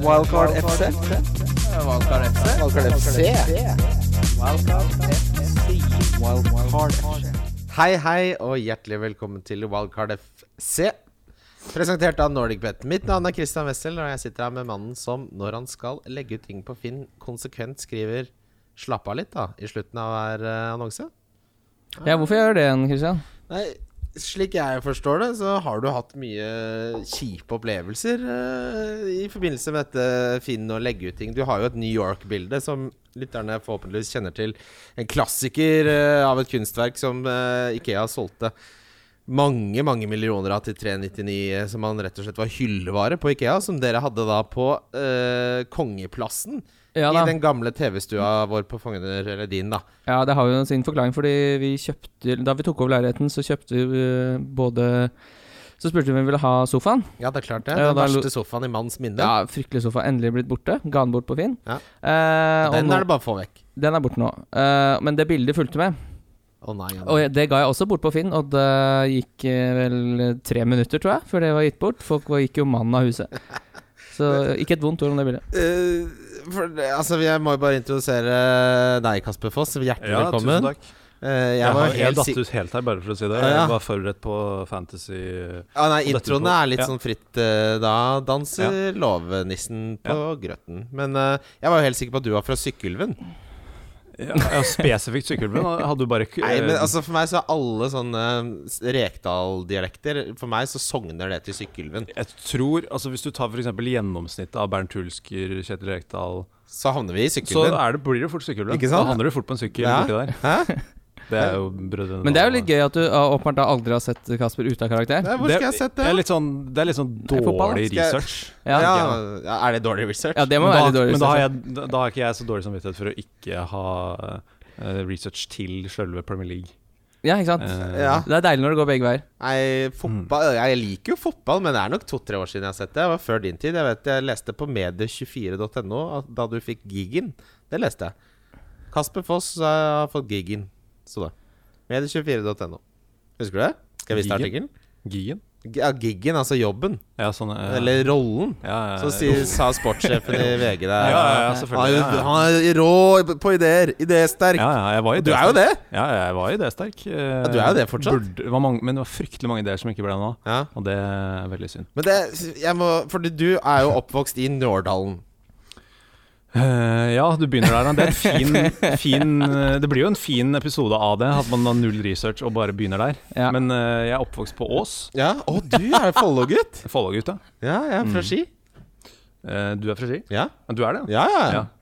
Wildcard FC. Valkar FC. Wildcard FC. Wildcard FC. Hei, hei, og hjertelig velkommen til Wildcard FC. Presentert av NordicBet. Mitt navn er Christian Wessel, og jeg sitter her med mannen som, når han skal legge ut ting på Finn, konsekvent skriver 'slapp av litt', da, i slutten av hver eh, annonse. Ja, hvorfor gjør jeg det igjen, Christian? Nei, slik jeg forstår det, så har du hatt mye kjipe opplevelser eh, i forbindelse med dette Finn og legge ut ting. Du har jo et New York-bilde som lytterne forhåpentligvis kjenner til. En klassiker eh, av et kunstverk som eh, Ikea solgte mange mange millioner av til 399, eh, som han rett og slett var hyllevare på Ikea, som dere hadde da på eh, Kongeplassen. Ja I da. den gamle TV-stua vår på Fogner, eller din, da. Ja, det har jo sin forklaring, fordi vi kjøpte Da vi tok over leiligheten, så kjøpte vi eh, både Så spurte vi om vi ville ha sofaen. Ja, det er klart det. Ja, den da lo- verste sofaen i manns minne. Ja, fryktelig sofa. Endelig blitt borte. Ga den bort på Finn. Ja. Eh, og den nå, er det bare å få vekk. den er borte nå. Eh, men det bildet fulgte med. Å nei, å nei. Og jeg- det ga jeg også bort på Finn, og det gikk eh, vel tre minutter, tror jeg, før det var gitt bort. Folk var, gikk jo mannen av huset. Så ikke et vondt ord om det bildet. Eh, for, det- altså, Jeg må jo bare introdusere deg, Kasper Foss. Hjertelig Ja, velkommen. tusen takk. Eh, jeg, Jeg, var har- jeg helt datt sikker ut helt her, bare for å si det. Ja, ja. Jeg var forberedt på fantasy ah, Nei, og datt ut introene på- er litt Ja. sånn fritt eh, da. Danser lovnissen på grøten. Men eh, jeg var jo helt sikker på at du var fra Sykkylven. ja, ja, Spesifikt sykkelbrunn. Hadde du bare Nei, men altså For meg så er alle sånne eh, Rekdal-dialekter For meg så sogner det til Sykkylven. Jeg tror, altså Hvis du tar for eksempel gjennomsnittet av Bernt Hulsker, Kjetil Rekdal, Så havner vi i så Sykkylven. er det, blir det fort sykkelbrunn. Ikke sant? Da handler det fort på en sykkel Ja. borti der. Hæ? Det er jo brødrene Men det er jo Dal. litt gøy at du ah, åpenbart da aldri har sett Kasper ute av karakter. Nei, Hvor Det- skal jeg ha sett Det er det? litt sånn, det er litt sånn er fotball, da. dårlig Skal jeg- research. Ja. Ja, ja, Er det dårlig research? ja det må Men være da, litt dårlig. men da, har synes jeg. jeg, da- da har ikke jeg så dårlig samvittighet for å ikke ha eh, research til selve Premier League. Ja, ikke sant? Eh, ja. Det er deilig når det går begge veier. Nei, fotball Mm. Jeg liker jo fotball, men det er nok to-tre år siden jeg har sett det. Det var før din tid. Jeg vet jeg leste på medie24.no at da du fikk gigen. Det leste jeg. Kasper Foss eh, har fått gigen. Så da. Medie24.no. Husker du det? Skal jeg vise deg Giggen? artikkelen? Gien? G- Ja, gigen, altså jobben. Ja, sånn eh, Eller rollen. ja, ja, Så sier, sa sportssjefen i VG der. Ja, ja, ja, han, selvfølgelig. er, Ja, jo- ja. han er rå på ideer. Idésterk. Ja, ja, jeg var Og jo du er jo sterk. det. Ja, ja, jeg var idésterk. Ja, du er jo det fortsatt. eh, Burde, det var mange, men det var fryktelig mange ideer som ikke ble noe av, Ja. og det er veldig synd. Men det, jeg må, fordi du er jo oppvokst i Njårdalen. Eh, ja, du begynner der. da. Det, er en fin, fin, eh, det blir jo en fin episode av det, at man har null research og bare begynner der. Ja. Men eh, jeg er oppvokst på Ås, Ja, Å, du er Follo-gutt! Follo-gutt. da. Ja, jeg er fra Mm. Ski. Eh, du er fra Ski? Ja, Du er det? ja, ja. ja. Mm.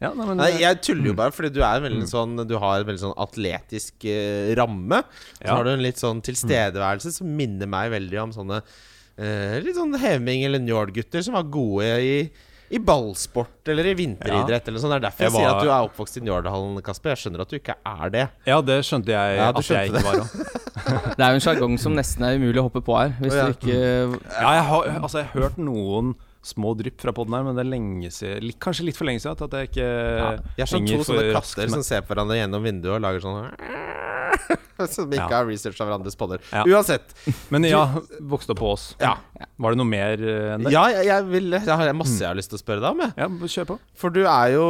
Ja, nei, men, Nei, jeg tuller jo bare, fordi du, er veldig sånn, du har en veldig sånn atletisk eh, ramme. Så Ja. Mm. har du en litt sånn tilstedeværelse som minner meg veldig om sånne eh, litt sånn Heving- eller Njord-gutter som var gode i, i ballsport eller i vinteridrett. Eller sånn. Det er derfor jeg, Jeg sier var- at du er oppvokst i Njordhallen, Kasper. Jeg skjønner at du ikke er det. ja, det skjønte jeg Ja, du at jeg skjønte ikke var òg. Det er jo en sjargong som nesten er umulig å hoppe på her. Hvis Å, ja. du ikke Ja, jeg har altså, jeg har hørt noen små drypp fra poden her, men det er lenge siden, litt- kanskje litt for lenge siden at jeg ikke Jeg er sånn henger to for sånne raskt katter med- som ser på hverandre gjennom vinduet og lager sånn Som ikke Ja. har researcha hverandres podder. Ja. Uansett. Men ja, vokste opp på Ås. Ja. Var det noe mer eh, enn det? Ja, jeg, jeg, vil, jeg har masse jeg har lyst til å spørre deg om. Jeg. Ja, kjør på. Mm. For du er jo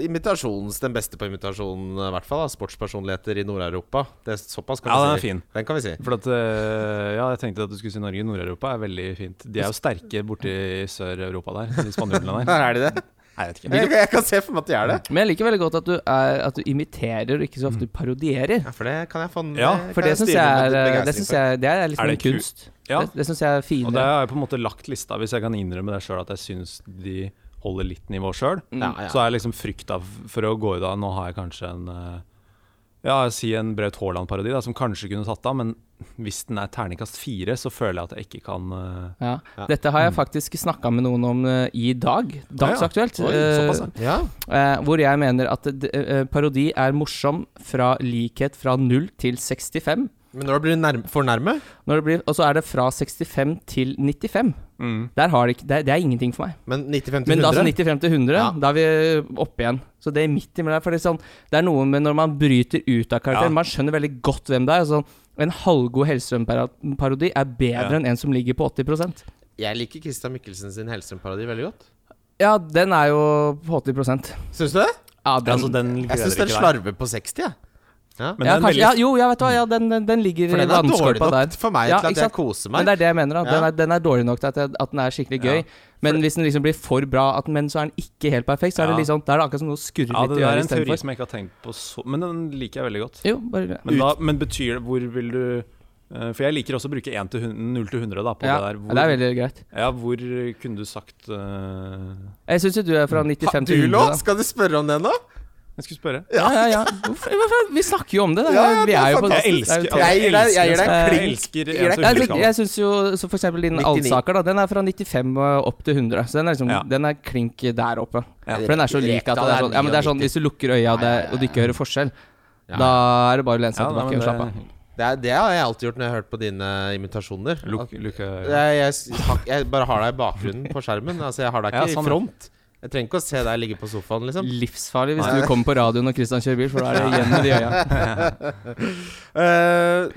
imitasjons, den beste på imitasjon, i hvert fall. Da. Sportspersonligheter i Nord-Europa. Det er Såpass kan Ja, vi den er si. fin. Den kan vi si. For at, eh, ja, jeg tenkte at du skulle si Norge. Nord-Europa er veldig fint. De er jo sterke borti Sør-Europa der, de spanjolene der. Her er de det? Nei, jeg vet ikke. Jeg, jeg kan se for meg at de er det. Men jeg liker veldig godt at du, er, at du imiterer og ikke så Mm. ofte parodierer. Ja, For det kan jeg få Ja, For det syns jeg eh, er Det, synes jeg, det er Er liksom det en ku- kunst. Ja. Det, det syns jeg er Og der finere. har jeg på en måte lagt lista, hvis jeg kan innrømme det sjøl, at jeg syns de holder litt nivå sjøl. Mm. Ja, ja. Så er jeg liksom frykta f- for å gå ut av Nå har jeg kanskje en eh, Ja, si en Braut Haaland-parodi, da, som kanskje kunne tatt av, men hvis den er terningkast fire, så føler jeg at jeg ikke kan eh, Ja. Dette har jeg faktisk snakka med noen om eh, i dag. Dagsaktuelt. Oi, såpass, ja. Ja, Eh, hvor jeg mener at d- eh, parodi er morsom fra likhet fra 0 til 65. Men når du blir nærme, for nærme Når det blir, og så er det fra 65 til 95. Mm. Der har det, ikke, det, er- det er ingenting for meg. Men 95 til Men 100 altså 95 til 100, Ja. da er vi oppe igjen. Så det er midt imellom der. For det er, sånn, det er noe med når man bryter ut av karakteren. Ja. Man skjønner veldig godt hvem det er. Sånn, en halvgod Hellstrøm-parodi er bedre Ja. enn en som ligger på 80 Jeg liker Christian Mikkelsen sin Hellstrøm-parodi veldig godt. Ja, den er jo på 80 Syns du det? Ja, den, Altså, den Jeg gleder syns den ikke deg. slarver på 60, jeg. Men ja, den er kanskje, veldig- ja, jo, ja, vet du hva, ja, den, den, den ligger For i den er dårlig vannskorpa nok der. for meg Ja, ikke til at jeg sant? koser Men meg. det er det jeg mener, da. Den Ja. er, den er dårlig nok til at, jeg, at den er skikkelig gøy. Men hvis den liksom blir for bra, at, men så er den ikke helt perfekt, så er det Ja. liksom, da er det akkurat som noe skurrer Ja, litt det i der er øret en teori istedenfor. som jeg ikke har tenkt på så Men den liker jeg veldig godt. Jo, bare Men, da, men betyr det Hvor vil du eh, For jeg liker også å bruke 1 til 100, 0 til 100 da, på ja, det der. ja, det er veldig greit. ja, hvor kunne du sagt eh, Jeg syns jo du er fra Ha, 95 du, til 100. Lå? da. Skal du spørre om det nå? Jeg skulle spørre. Ja, ja, ja. Hvorfor, hvorfor- vi snakker jo om det. Da. Ja, ja, vi det er er jo på Jeg det er elsker jo- Jeg gir deg- jeg gir deg elsker- klink. Jeg Jeg gir elsker deg Jeg, en til syns- 100-skala. jeg syns jo så for eksempel din 99. Alsaker, da. Den er fra 95 og opp til 100. Så den er, liksom, Ja. den er klink der oppe. Ja. For den er så lik at Rekdal det er er sånn, ja, men det er sånn 99. hvis du lukker øya og, det, og du ikke hører forskjell, Ja. da er det bare å lene seg Ja, nei, tilbake men og slappe av. det- Det, er, det har jeg alltid gjort når jeg har hørt på dine eh, imitasjoner. Luk, At- luk, Jeg, jeg, s- har- jeg bare har deg i bakgrunnen på skjermen. Altså, jeg har deg Ja, ikke i sånn, ja. front. Jeg trenger ikke å se deg ligge på sofaen, liksom. Livsfarlig hvis Nei. du kommer på radioen og Christian kjører bil, for da er det igjen med de øya. Eh,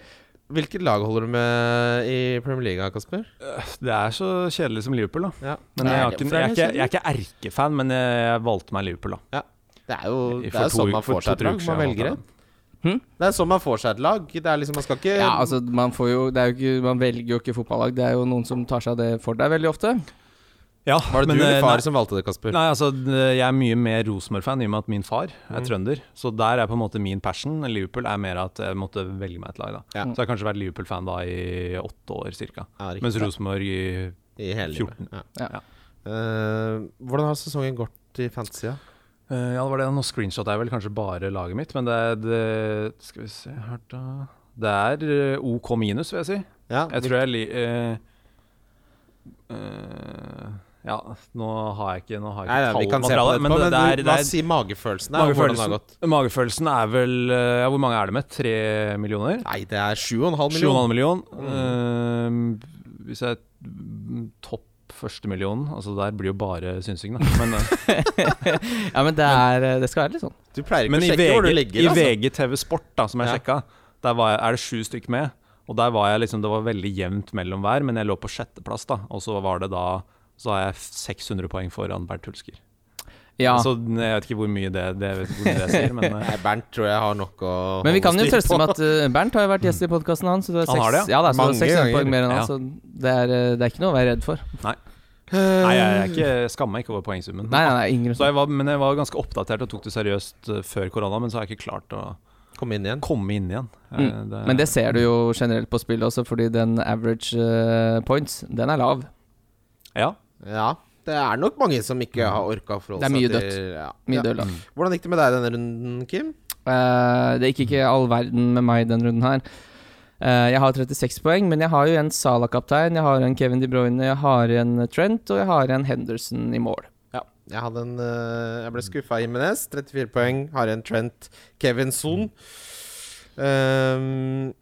hvilket lag holder du med i Premier League, Kasper? det er så kjedelig som Liverpool, da. Ja. Men jeg, har ikke, jeg, er ikke, jeg jeg, er ikke erkefan, men jeg, jeg valgte meg Liverpool, da. Det er jo, det For er jo to sånn uker- man for får seg et to-tre lag. uker Man siden jeg velger det. valgte Hm? Det er sånn man får seg et lag. Det er liksom, Man skal ikke Ja, altså, man får jo Det er jo ikke Man velger jo ikke fotballag. Det er jo noen som tar seg av det for deg veldig ofte. Ja, Var det men, du eh, eller nei- far som valgte det, Kasper? Nei, altså, det- jeg er mye mer Rosenborg-fan i og med at min far er Mm. trønder. Så der er på en måte min passion. Liverpool er mer at jeg måtte velge meg et lag, da. Ja. Så jeg har kanskje vært Liverpool-fan da i åtte år cirka. Ja, riktig. Mens Rosenborg i I hele livet. 14. Ja. Ja. Eh, hvordan har sesongen gått i fantasy? da? Eh, Ja, det var det. Nå screenshotet jeg vel kanskje bare laget mitt, men det, er- det Skal vi se her, da. Det er eh, OK minus, vil jeg si. Ja, Jeg tror jeg li... eh, eh, ja, nå har jeg ikke, nå har jeg Nei, nei, ikke vi kan se på tallmateriale, det etterpå, men, det er- hva det er- sier magefølelsen? Da, og hvordan det har Magefølelsen, gått? magefølelsen er vel eh, ja, Hvor mange er det med? Tre millioner? Nei, det er 7,5 7,5 millioner. million. Mm. Eh, hvis jeg mm, topp første millionen Altså der blir jo bare synsing, da. Men, eh, Ja, men det er Det skal være litt sånn. Du pleier ikke men å i, sjekke hvor VG, du ligger, i altså. VGTV Sport, da, som jeg Ja. sjekka, der var jeg, er det sju stykk med. Og der var jeg liksom, Det var veldig jevnt mellom hver, men jeg lå på sjetteplass. da Og så var det da Så har jeg 600 poeng foran Bernt Hulsker. Ja. Så jeg vet ikke hvor mye det, det, jeg vet ikke hvor mye det sier, men eh, Nei, Bernt tror jeg har nok å Men vi holde kan jo styr trøste på. med at eh, Bernt har jo vært gjest i podkasten hans. Så det er Han har ja. det, ja. da, så Mange det er seks ganger. poeng mer enn han, Ja. så det er, eh, det er ikke noe å være redd for. Nei, jeg, er ikke, jeg skammer meg ikke over poengsummen. Nei, nei, nei ingen Så jeg var, men jeg var ganske oppdatert og tok det seriøst eh, før korona, men så har jeg ikke klart å Kom inn igjen. komme inn igjen. Eh, Mm. Men det ser du jo generelt på spillet også, fordi den average eh, points, den er lav. Ja. Ja. Det er nok mange som ikke har orka å forholde Det er mye seg til ja. Mye Ja. døll, da. Hvordan gikk det med deg denne runden, Kim? Eh, det gikk ikke all verden med meg den runden her. Eh, jeg har 36 poeng, men jeg har jo en Salah-kaptein, jeg har en Kevin De Bruyne, jeg har en Trent, og jeg har en Henderson i mål. Ja. Jeg, hadde en, eh, jeg ble skuffa av Jimenez. 34 poeng. Har en Trent Kevinson. Um,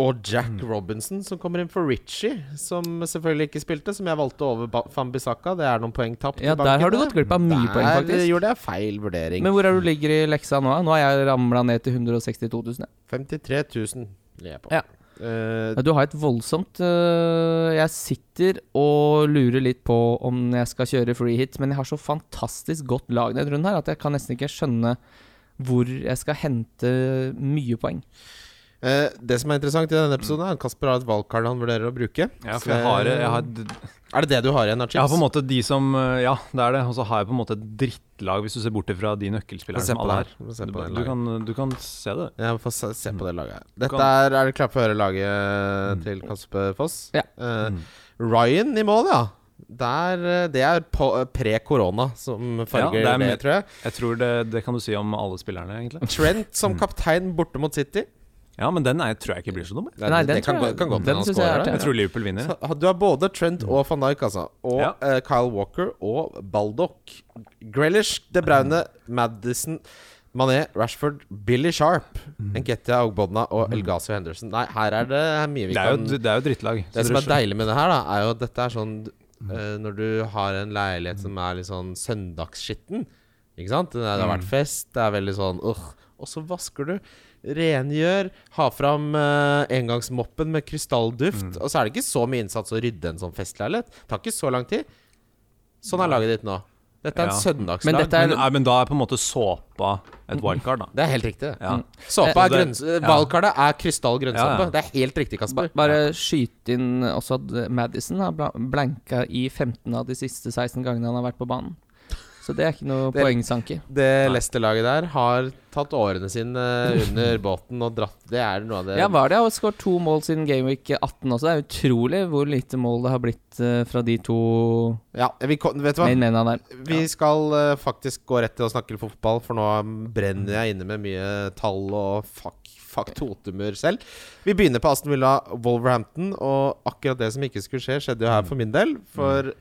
og Jack Mm. Robinson, som kommer inn for Ritchie, som selvfølgelig ikke spilte. Som jeg valgte over Ba- Wan-Bissaka. Det er noen poeng tapt. Ja, i der banken har du gått glipp av mye der eh, poeng, faktisk. gjorde jeg feil vurdering. Men hvor er du ligger i leksa nå? da? Nå har jeg ramla ned til 162 000. jeg. 53 000 ligger jeg på. Ja. Eh, Ja, Du har et voldsomt øh, Jeg sitter og lurer litt på om jeg skal kjøre free hit, men jeg har så fantastisk godt lag denne runden her at jeg kan nesten ikke skjønne hvor jeg skal hente mye poeng. eh, det som er interessant i denne episoden, er at Kasper har et valgkart han vurderer å bruke. Eh, ja, for jeg har, jeg, har, Er det det du har igjen av chips? jeg har på en måte de som eh, Ja, det er det. Og så har jeg på en måte et drittlag, hvis du ser bort fra de nøkkelspillerne se som på alle det er. her. Få se Du, på det du, kan, du kan se det. Ja, vi får se, se på det laget. Dette Mm. Kan- Mm. er, er det klart for å høre laget til Kasper Foss. Ja. Eh, Ryan i mål, ja. Der, eh, det er på- eh, pre-korona som farger Ja, det, det er med- tror jeg. Jeg tror det, det kan du si om alle spillerne, egentlig. Trent som kaptein borte mot City. Ja, men den er, tror jeg ikke blir så dum. jeg. Det, Nei, det den kan, tror jeg- gå- kan godt den hende han synes jeg er scorer. artig. der. Jeg tror Liverpool vinner. Så Du har både Trent og van Dijk, altså. Og Ja. eh, Kyle Walker og Baldock. Grealish, De Braune, Madison, Mané, Rashford, Billy Sharp, Mm. Nketia Ogbonna og Elgazo Henderson. Nei, her er det mye vi Det er kan jo, det Mm. er jo drittlag. Det så som du er deilig med det her, da, er jo at dette er sånn eh, Når du har en leilighet som er litt sånn søndagsskitten Ikke sant? Det, er, det har Mm. vært fest, det er veldig sånn uh, Og så vasker du, rengjør, har fram eh, engangsmoppen med krystallduft. Mm. Og så er det ikke så mye innsats å rydde en sånn festleilighet. Det tar ikke så lang tid. Sånn er laget ditt nå. Dette er en Ja. søndagslag. Men dette er- Men, nei, men da er på en måte såpa et wildcard, da. Det er helt riktig, det. Ja. Eh, Mm. Såpe er Og det- grønns... Valgkartet er krystall grønnsåpe. Ja, ja. Det er helt Ba riktig, Kasper. bare skyte inn også at eh, Madison har bla- blanka i 15 av de siste 16 gangene han har vært på banen. Så det er ikke noe Det- poengsanke. Det Leicester-laget der har tatt årene sine eh, under båten og dratt Det er noe av det Ja, var det og skåret to mål siden Gameweek 18 også. Det er utrolig hvor lite mål det har blitt eh, fra de to Ja, vi, kom- Vet du hva? main mena der. Vi skal eh, faktisk gå rett til å snakke litt fotball, for nå brenner jeg inne med mye tall og fuck, fuck totemer selv. Vi begynner på Aston Villa Wolverhampton, og akkurat det som ikke skulle skje, skjedde Mm. jo her for min del. For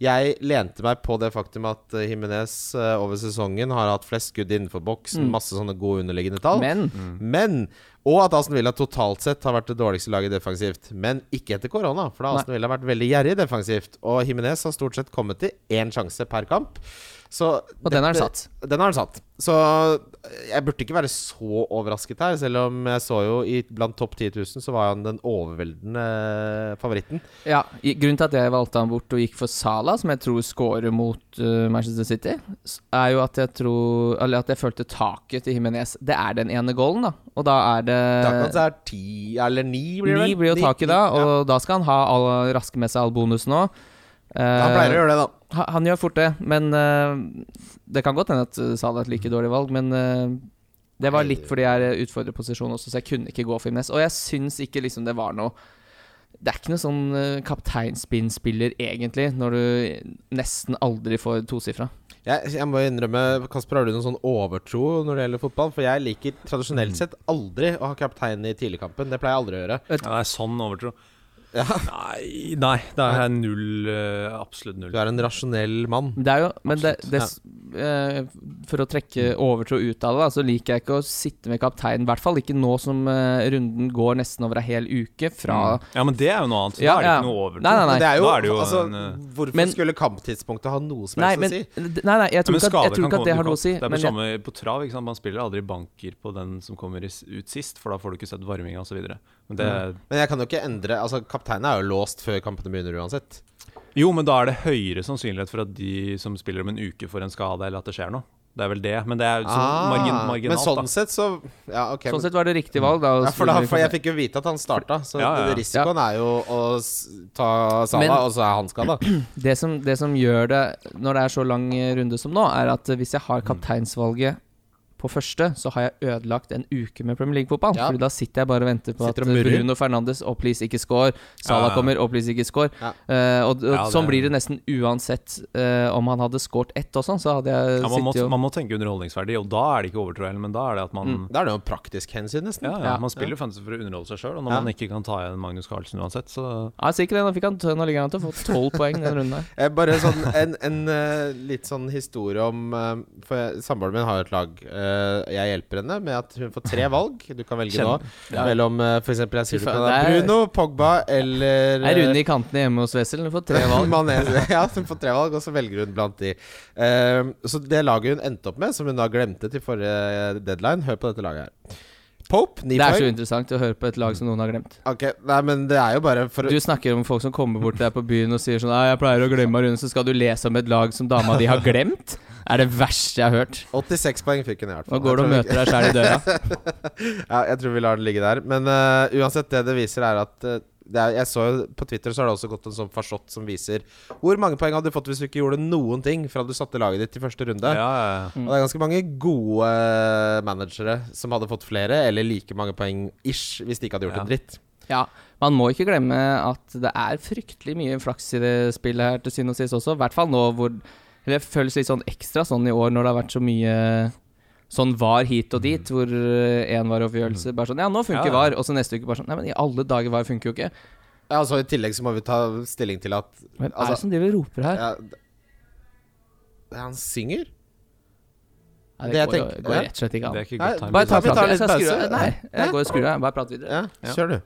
jeg lente meg på det faktum at eh, Jimenez eh, over sesongen har hatt flest skudd innenfor boksen, masse sånne gode underliggende Mm. tall. Men Mm. Men Og at Aston Villa totalt sett har vært det dårligste laget defensivt. Men ikke etter korona, for da har Aston Villa vært veldig gjerrig defensivt. Og Himinez har stort sett kommet til én sjanse per kamp. Så Og den har han satt. Den har han satt. Så jeg burde ikke være så overrasket her, selv om jeg så jo i, blant topp 10 000 så var han den overveldende favoritten. Ja, i- grunnen til at jeg valgte han bort og gikk for Sala, som jeg tror scorer mot eh, Manchester City, s- er jo at jeg tror Eller at jeg følte taket til Jimenez. Det er den ene goalen, da. Og da er det Takk at det er ti, eller ni, blir det vel? Ni blir jo Ni- taket ni- da, ja. og da skal han ha all, raske med seg all bonusen òg. Han eh, pleier å gjøre det, da. han, han gjør fort det, men eh, det kan godt hende at eh, Salah er et like dårlig valg, men eh, det var Nei. litt fordi jeg er utfordrerposisjon også, så jeg kunne ikke gå for Imnes. Og jeg syns ikke liksom det var noe Det er ikke noe sånn eh, kapteinspinnspiller, egentlig, når du nesten aldri får tosifra. Jeg, jeg må innrømme, Kasper, har du noen sånn overtro når det gjelder fotball? For jeg liker tradisjonelt Mm. sett aldri å ha kaptein i tidligkampen. Det pleier jeg aldri å gjøre. Ja, det er sånn overtro. Nei, nei, det er null. eh, Absolutt null. Du er en rasjonell mann. Men Det er jo, men det, det, eh, for å trekke overtro ut av det, da, så liker jeg ikke å sitte med kapteinen. I hvert fall ikke nå som eh, runden går nesten over ei hel uke fra Mm. Ja, men det er jo noe annet. Så Ja, da er det ja. ikke noe overtro. Nei, nei, nei. Men det er jo, Da er det jo altså, en, eh, Hvorfor Men- skulle kamptidspunktet ha noe som Nei, helst men, å si? d- nei, nei, jeg Ja, tror men ikke at, skader jeg tror kan ikke at komme- det du har noe å kan- si. Det er men på jeg, samme på trav. ikke sant? Man spiller aldri banker på den som kommer i s- ut sist, for da får du ikke sett varminga osv. Men det, Mm. Men jeg kan jo ikke endre Altså, kapteinen er jo låst før kampene begynner uansett. jo, men da er det høyere sannsynlighet for at de som spiller om en uke, får en skade, eller at det skjer noe. Det er vel det. Men det er sånn Ah, margin, men marginalt, sånn da. sett, så Ja, ok. sånn men- sett var det riktig valg. Da, å ja, for, da, spille for jeg for- fikk jo vite at han starta, så Ja, ja, ja. risikoen er jo å s- ta Sala, Men- og så er han skada. det, som, det som gjør det når det er så lang eh, runde som nå, er at eh, hvis jeg har kapteinsvalget på første, så har jeg ødelagt en uke med Premier League-fotball. Ja. Fordi da sitter jeg bare og venter på Sitter at og eh, murrer. Bruno Fernandes og please ikke score. Salah Ja. kommer og please ikke score. Ja. Eh, og, og Ja, det- sånn blir det nesten uansett eh, om han hadde scoret ett og sånn, så hadde jeg Ja, man, sittet må, og man må tenke underholdningsverdi, og da er det ikke overtro heller, men da er det at man Mm. Da er det jo praktisk hensyn, nesten. ja, ja, Ja. Man spiller jo fantasy for å underholde seg sjøl, og når Ja. man ikke kan ta igjen Magnus Carlsen uansett, så ja, sikkert, Nå fikk han nå ligger han til å få tolv poeng den runden her. Eh, Bare sånn, en, en eh, litt sånn historie om eh, For jeg- Samboeren min har jo et lag. Eh, jeg hjelper henne med at hun får tre valg. Du kan velge Kjenn- nå. Ja. Mellom eh, for eksempel, jeg sier Fy du faen, kan ha det er- Bruno, Pogba eller Jeg er eh, runde i kantene hjemme hos Wessel. Du får tre valg. Mané- ja, hun får tre valg, og så velger hun blant de. Eh, så det laget hun endte opp med, som hun da glemte til forrige eh, deadline Hør på dette laget her. Pope, ni Det er så poeng. interessant å høre på et lag som noen har glemt. Ok, nei, men det er jo bare for Du snakker om folk som kommer bort til deg på byen og sier sånn «Nei, 'Jeg pleier å glemme Rune', så skal du lese om et lag som dama di har glemt? Er det verste jeg har hørt. 86 poeng fikk hun i hvert fall. Nå går du og Jeg tror møter deg sjæl i døra. Ja, jeg tror vi lar den ligge der. Men eh, uansett, det det viser, er at eh, det er, Jeg så jo På Twitter så har det også gått en sånn fasjott som viser hvor mange poeng hadde du fått hvis du ikke gjorde noen ting fra du satte laget ditt til første runde. ja, ja, ja. Og det er ganske mange gode eh, managere som hadde fått flere, eller like mange poeng ish, hvis de ikke hadde gjort Ja. en dritt. Ja, Man må ikke glemme at det er fryktelig mye flaks i det spillet her til syvende og sist også. I hvert fall nå hvor eller Det føles litt sånn ekstra sånn i år når det har vært så mye sånn var hit og dit, hvor én var Mm. avgjørelse. Bare sånn Ja, nå Ja, funker ja. var. Og så neste uke bare sånn Nei, men i alle dager, var funker jo ikke. Ja, og så I tillegg så må vi ta stilling til at Hvem er det sånn Altså- som driver og roper her? ja, d- Han synger? Nei, det, det jeg går, jo- tenker- går ja. rett og slett ikke Det an. er ikke Nei, godt time. bare ta- business. vi tar Jeg litt skal skru- pause. Nei, Hæ? jeg går og skrur av. Bare prat videre. Ja, Ja. kjør, du.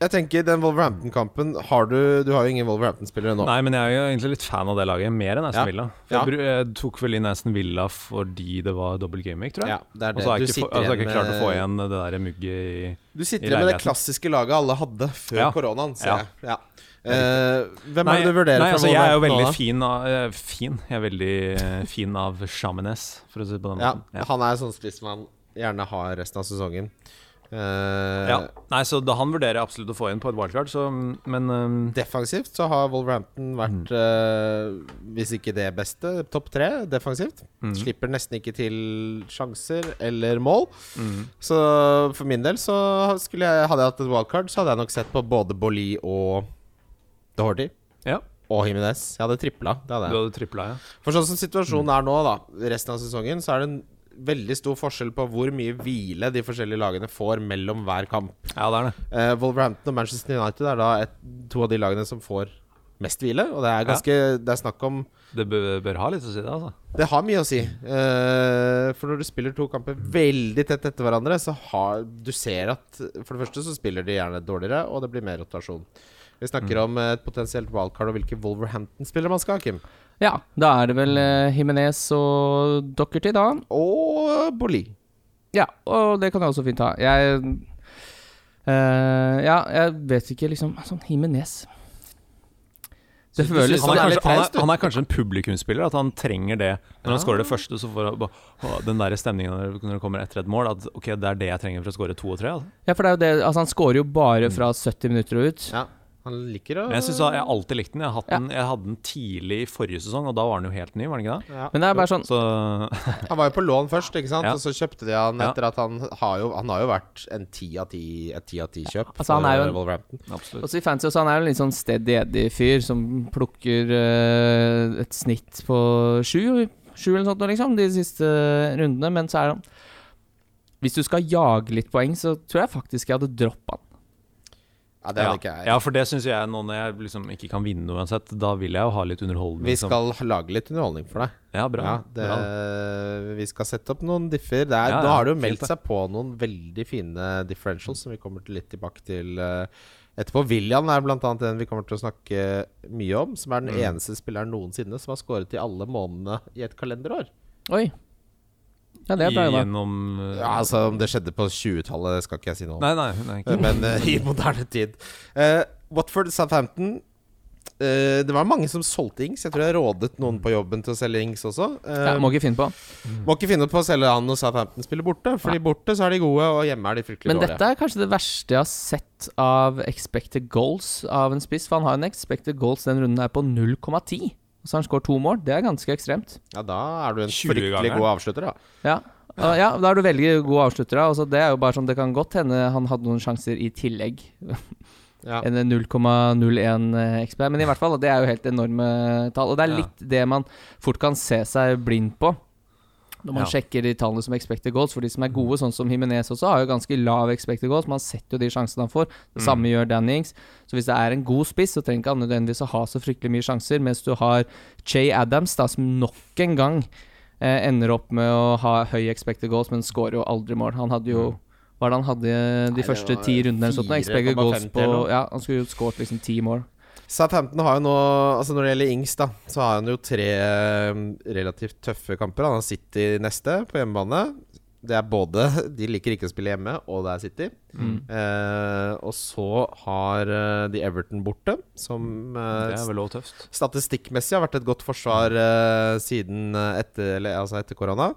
Jeg tenker den Wolverhampton-kampen har du Du har jo ingen Wolverhampton-spillere nå. Nei, men jeg er jo egentlig litt fan av det laget. Mer enn Aston Ja. Villa. For jeg Ja. bru- Jeg tok vel inn Aston Villa fordi det var dobbel gameweek, tror jeg. Ja, det er Og det. så har Du jeg ikke, få- sitter altså, jeg har ikke igjen klart å med- få igjen det der mugget i Du sitter i med det leiligheten. klassiske laget alle hadde før Ja. koronaen, ser Ja. jeg. Ja. Eh, hvem er det du vurderer nei, fra altså, jeg er jo Wolverhampton nå, veldig da? fin av eh, Fin? Jeg er veldig eh, fin av Chaminess, for å si det på den Ja, måten. Ja. han er sånn spiss man gjerne har resten av sesongen. Eh, Ja. Nei, så da han vurderer jeg absolutt å få inn på et wildcard, så Men eh, Defensivt så har Wolverhampton Mm. vært, eh, hvis ikke det beste, topp tre defensivt. Mm. Slipper nesten ikke til sjanser eller mål. Mm. Så for min del så skulle jeg, hadde jeg hatt et wildcard, så hadde jeg nok sett på både Bolli og Doherty. eh, ja, Og Jimenez. Jeg hadde tripla. Det hadde du jeg. hadde tripla, ja. For sånn som situasjonen er nå, da, resten av sesongen, så er det en veldig stor forskjell på hvor mye hvile de forskjellige lagene får mellom hver kamp. Ja, det er det. Eh, Wolverhampton og Manchester United er da et, to av de lagene som får mest hvile, og det er ganske Det er snakk om Det bør, bør ha litt å si, det, altså. Det har mye å si. Eh, for når du spiller to kamper veldig tett etter hverandre, så har Du ser at For det første så spiller de gjerne dårligere, og det blir mer rotasjon. Vi snakker om et potensielt wildcard og hvilke Wolverhampton-spillere man skal ha, Kim. Ja, da er det vel eh, Jimenez og Dockerty, da. Og Boli. Ja, og det kan jeg også fint ha. Jeg eh, Ja, jeg vet ikke, liksom Sånn Jimenez Det du føles synes Han sånn er, det er litt kanskje, han, traust, du. er, han er kanskje en publikumsspiller, at han trenger det. Når han scorer det første, så får han bare, å, den der stemningen når når det kommer etter et mål, at ok, det er det jeg trenger for å score to og tre. Altså. Ja, for det er jo det Altså, han scorer jo bare fra 70 minutter og ut. Ja, han liker å Men jeg synes jeg har alltid likte den. Jeg, har hatt den. jeg hadde den tidlig i forrige sesong, og da var den jo helt ny, var den ikke det? Men det er bare sånn Så Han var jo på lån først, ikke sant? Ja. og så kjøpte de han Ja. etter at han har jo, han har jo vært en ti av ti et 10 av 10 kjøp Altså, han er jo for en- Wolverhampton. absolutt. Også i fancy også, han er jo en litt sånn steady eddy fyr som plukker eh, et snitt på sju, sju eller noe sånt, nå, liksom, de siste rundene. Men så er han Hvis du skal jage litt poeng, så tror jeg faktisk jeg hadde droppa han. Ja, det Ja. hadde ikke jeg. ja, for det syns jeg nå når jeg liksom ikke kan vinne noe uansett. Da vil jeg jo ha litt underholdning. Vi som- skal lage litt underholdning for deg. Ja, bra. Ja, det, bra. vi skal sette opp noen differ. Det er, Ja, nå ja, har det jo fint meldt det. seg på noen veldig fine differentials som vi kommer til litt tilbake til eh, etterpå. William er blant annet den vi kommer til å snakke mye om, som er den Mm. eneste spilleren noensinne som har skåret i alle månedene i et kalenderår. Oi. Ja, det er bra jobba. Gjennom eh, Ja, altså Om det skjedde på 20-tallet, skal ikke jeg si noe om. Nei, nei, nei ikke. men eh, i moderne tid. Eh, Watford Southampton eh, Det var mange som solgte Ings. Jeg tror jeg rådet noen på jobben til å selge Ings også. Eh, Ja, må... må ikke finne på. ikke finne på å selge han når Southampton spiller borte, Fordi borte så er de gode, og hjemme er de fryktelig Men dårlige. dette er kanskje det verste jeg har sett av expected goals av en spiss. For han har en expected goals den runden her på 0,10. Og så har han skåret to mål. Det er ganske ekstremt. Ja, da er du en 20 fryktelig ganger. god avslutter, da. Ja. Uh, ja, da er du veldig god avslutter. da. Altså, det er jo bare sånn, det kan godt hende han hadde noen sjanser i tillegg. Ja. En 0,01 XP. eh, Men i hvert fall, det er jo helt enorme tall. Og det er Ja. litt det man fort kan se seg blind på. Når man Ja. sjekker de tallene som expected goals, for de som er gode, sånn som Himinez også, har jo ganske lav expected goals. Man setter jo de sjansene han får. Mm. Det samme gjør Danny Ings. Så hvis det er en god spiss, så trenger ikke han nødvendigvis å ha så fryktelig mye sjanser, mens du har Jay Adams, da, som nok en gang eh, ender opp med å ha høy expected goals, men scorer jo aldri mål. Han hadde jo Hva var det han hadde de Mm. det første var ti rundene? eller sånt, da? Expected 4,50 goals på eller noe. Ja, han skulle jo skåret liksom ti mål. Southampton har jo nå Altså Når det gjelder Ings, da så har han jo tre eh, relativt tøffe kamper. Han har City neste på hjemmebane. Det er både De liker ikke å spille hjemme, og det er City. Mm. Eh, og så har eh, de Everton borte, som eh, Det er vel også tøft. statistikkmessig har vært et godt forsvar eh, siden eh, etter, eller, altså etter korona.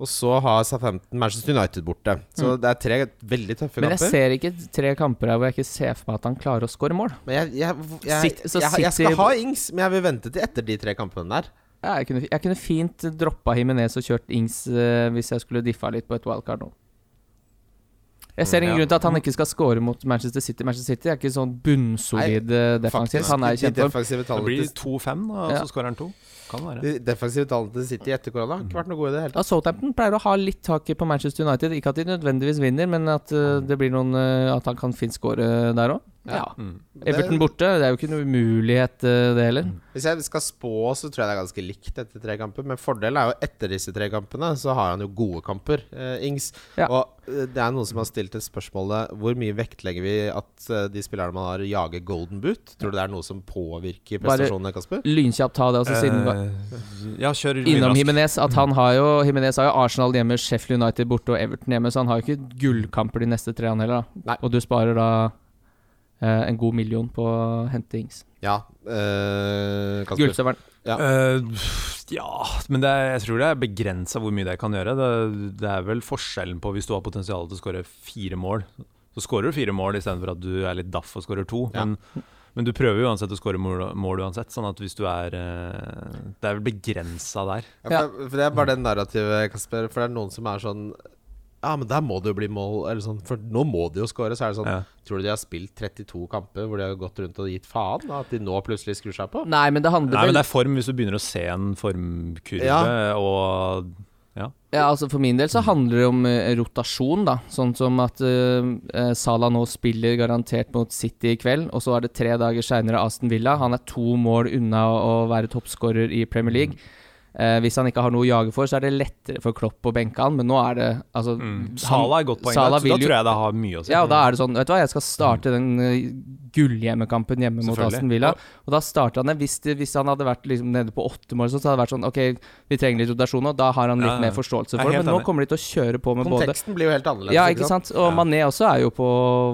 Og så har Southampton Manchester United borte. Så det er tre veldig tøffe Mm. Men jeg kamper. ser ikke tre kamper her hvor jeg ikke ser for meg at han klarer å skåre mål. Men jeg, jeg, jeg, Sitt- jeg, så jeg, jeg City- skal ha Ings, men jeg vil vente til etter de tre kampene der. Jeg kunne, jeg kunne fint droppa Himinez og kjørt Ings eh, hvis jeg skulle diffa litt på et wildcard nå. Jeg ser ingen Ja. grunn til at han ikke skal score mot Manchester City. Manchester City er ikke sånn bunnsolid eh, defensivt. Faktisk, Han er i de kjempeform. defensive Det tallene blir til, 2-5, da, og Ja. så skårer han to. Kan være. de defensive tallene til City etter korona har Mm. ikke vært noe gode i det hele tatt. Ja, Southampton pleier å ha litt tak i på Manchester United. Ikke at de nødvendigvis vinner, men at eh, det blir noen eh, At han kan fint score eh, der òg. Ja. Mm. Everton borte, det er jo ikke noe umulighet, eh, det heller. Hvis jeg skal spå, så tror jeg det er ganske likt etter tre kamper. Men fordelen er jo etter disse tre kampene, så har han jo gode kamper, eh, Ings. Ja. Og eh, det er noen som har stilt et spørsmålet hvor mye vektlegger vi at eh, de spillerne man har, jager golden boot? Tror du det er noe som påvirker Bare- prestasjonene, Kasper? Lynkjapt ta det, altså, siden Eh, ja, kjør Innom vinrask. Jimenez. At han har jo Jimenez har jo Arsenal hjemme, Sheffield United borte og Everton hjemme, så han har jo ikke gullkamper de neste tre, han heller. da Nei. Og du sparer da eh, en god million på å hente Ings. Ja. eh, Kasper. Gullsøveren. Ja. Eh, pff, ja, men det er, jeg tror det er begrensa hvor mye det kan gjøre. Det, det er vel forskjellen på hvis du har potensial til å skåre fire mål. Så skårer du fire mål istedenfor at du er litt daff og skårer to. Ja. Men, men du prøver jo uansett å skåre mål, mål uansett, sånn at hvis du er eh, Det er vel begrensa der. Ja, for, for Det er bare det narrativet, Kasper. For det er noen som er sånn Ja, men der må det jo bli mål. Eller sånn, for nå må de jo score. Så er det sånn Ja. Tror du de har spilt 32 kamper hvor de har gått rundt og gitt faen? da, At de nå plutselig skrur seg på? Nei, men det handler Nei, vel men det er form hvis du begynner å se en formkurve, Ja. og ja. Ja, altså For min del så handler det om eh, rotasjon. da Sånn som at uh, Salah nå spiller garantert mot City i kveld, og så er det tre dager seinere Aston Villa. Han er to mål unna å være toppskårer i Premier League. Eh, hvis han ikke har noe å jage for, så er det lettere for Klopp å benke han, men nå er det altså, han- Sala er et godt poeng. Salah Da, da vil jo- tror jeg det har mye å si. ja, og da er det sånn Vet du hva, jeg skal starte den eh, gullhjemmekampen hjemme mot Selvfølgelig. Aston Villa. Og da starter han det. Hvis, det, hvis han hadde vært liksom nede på åtte mål, så hadde det vært sånn Ok, vi trenger litt rotasjon nå. Da har han litt Ja, ja. mer forståelse Jeg er for det. Men helt nå enig. liksom. kommer de til å kjøre på med både Konteksten blir jo helt annerledes. ja, ikke sant? Og Ja. Mané også er jo på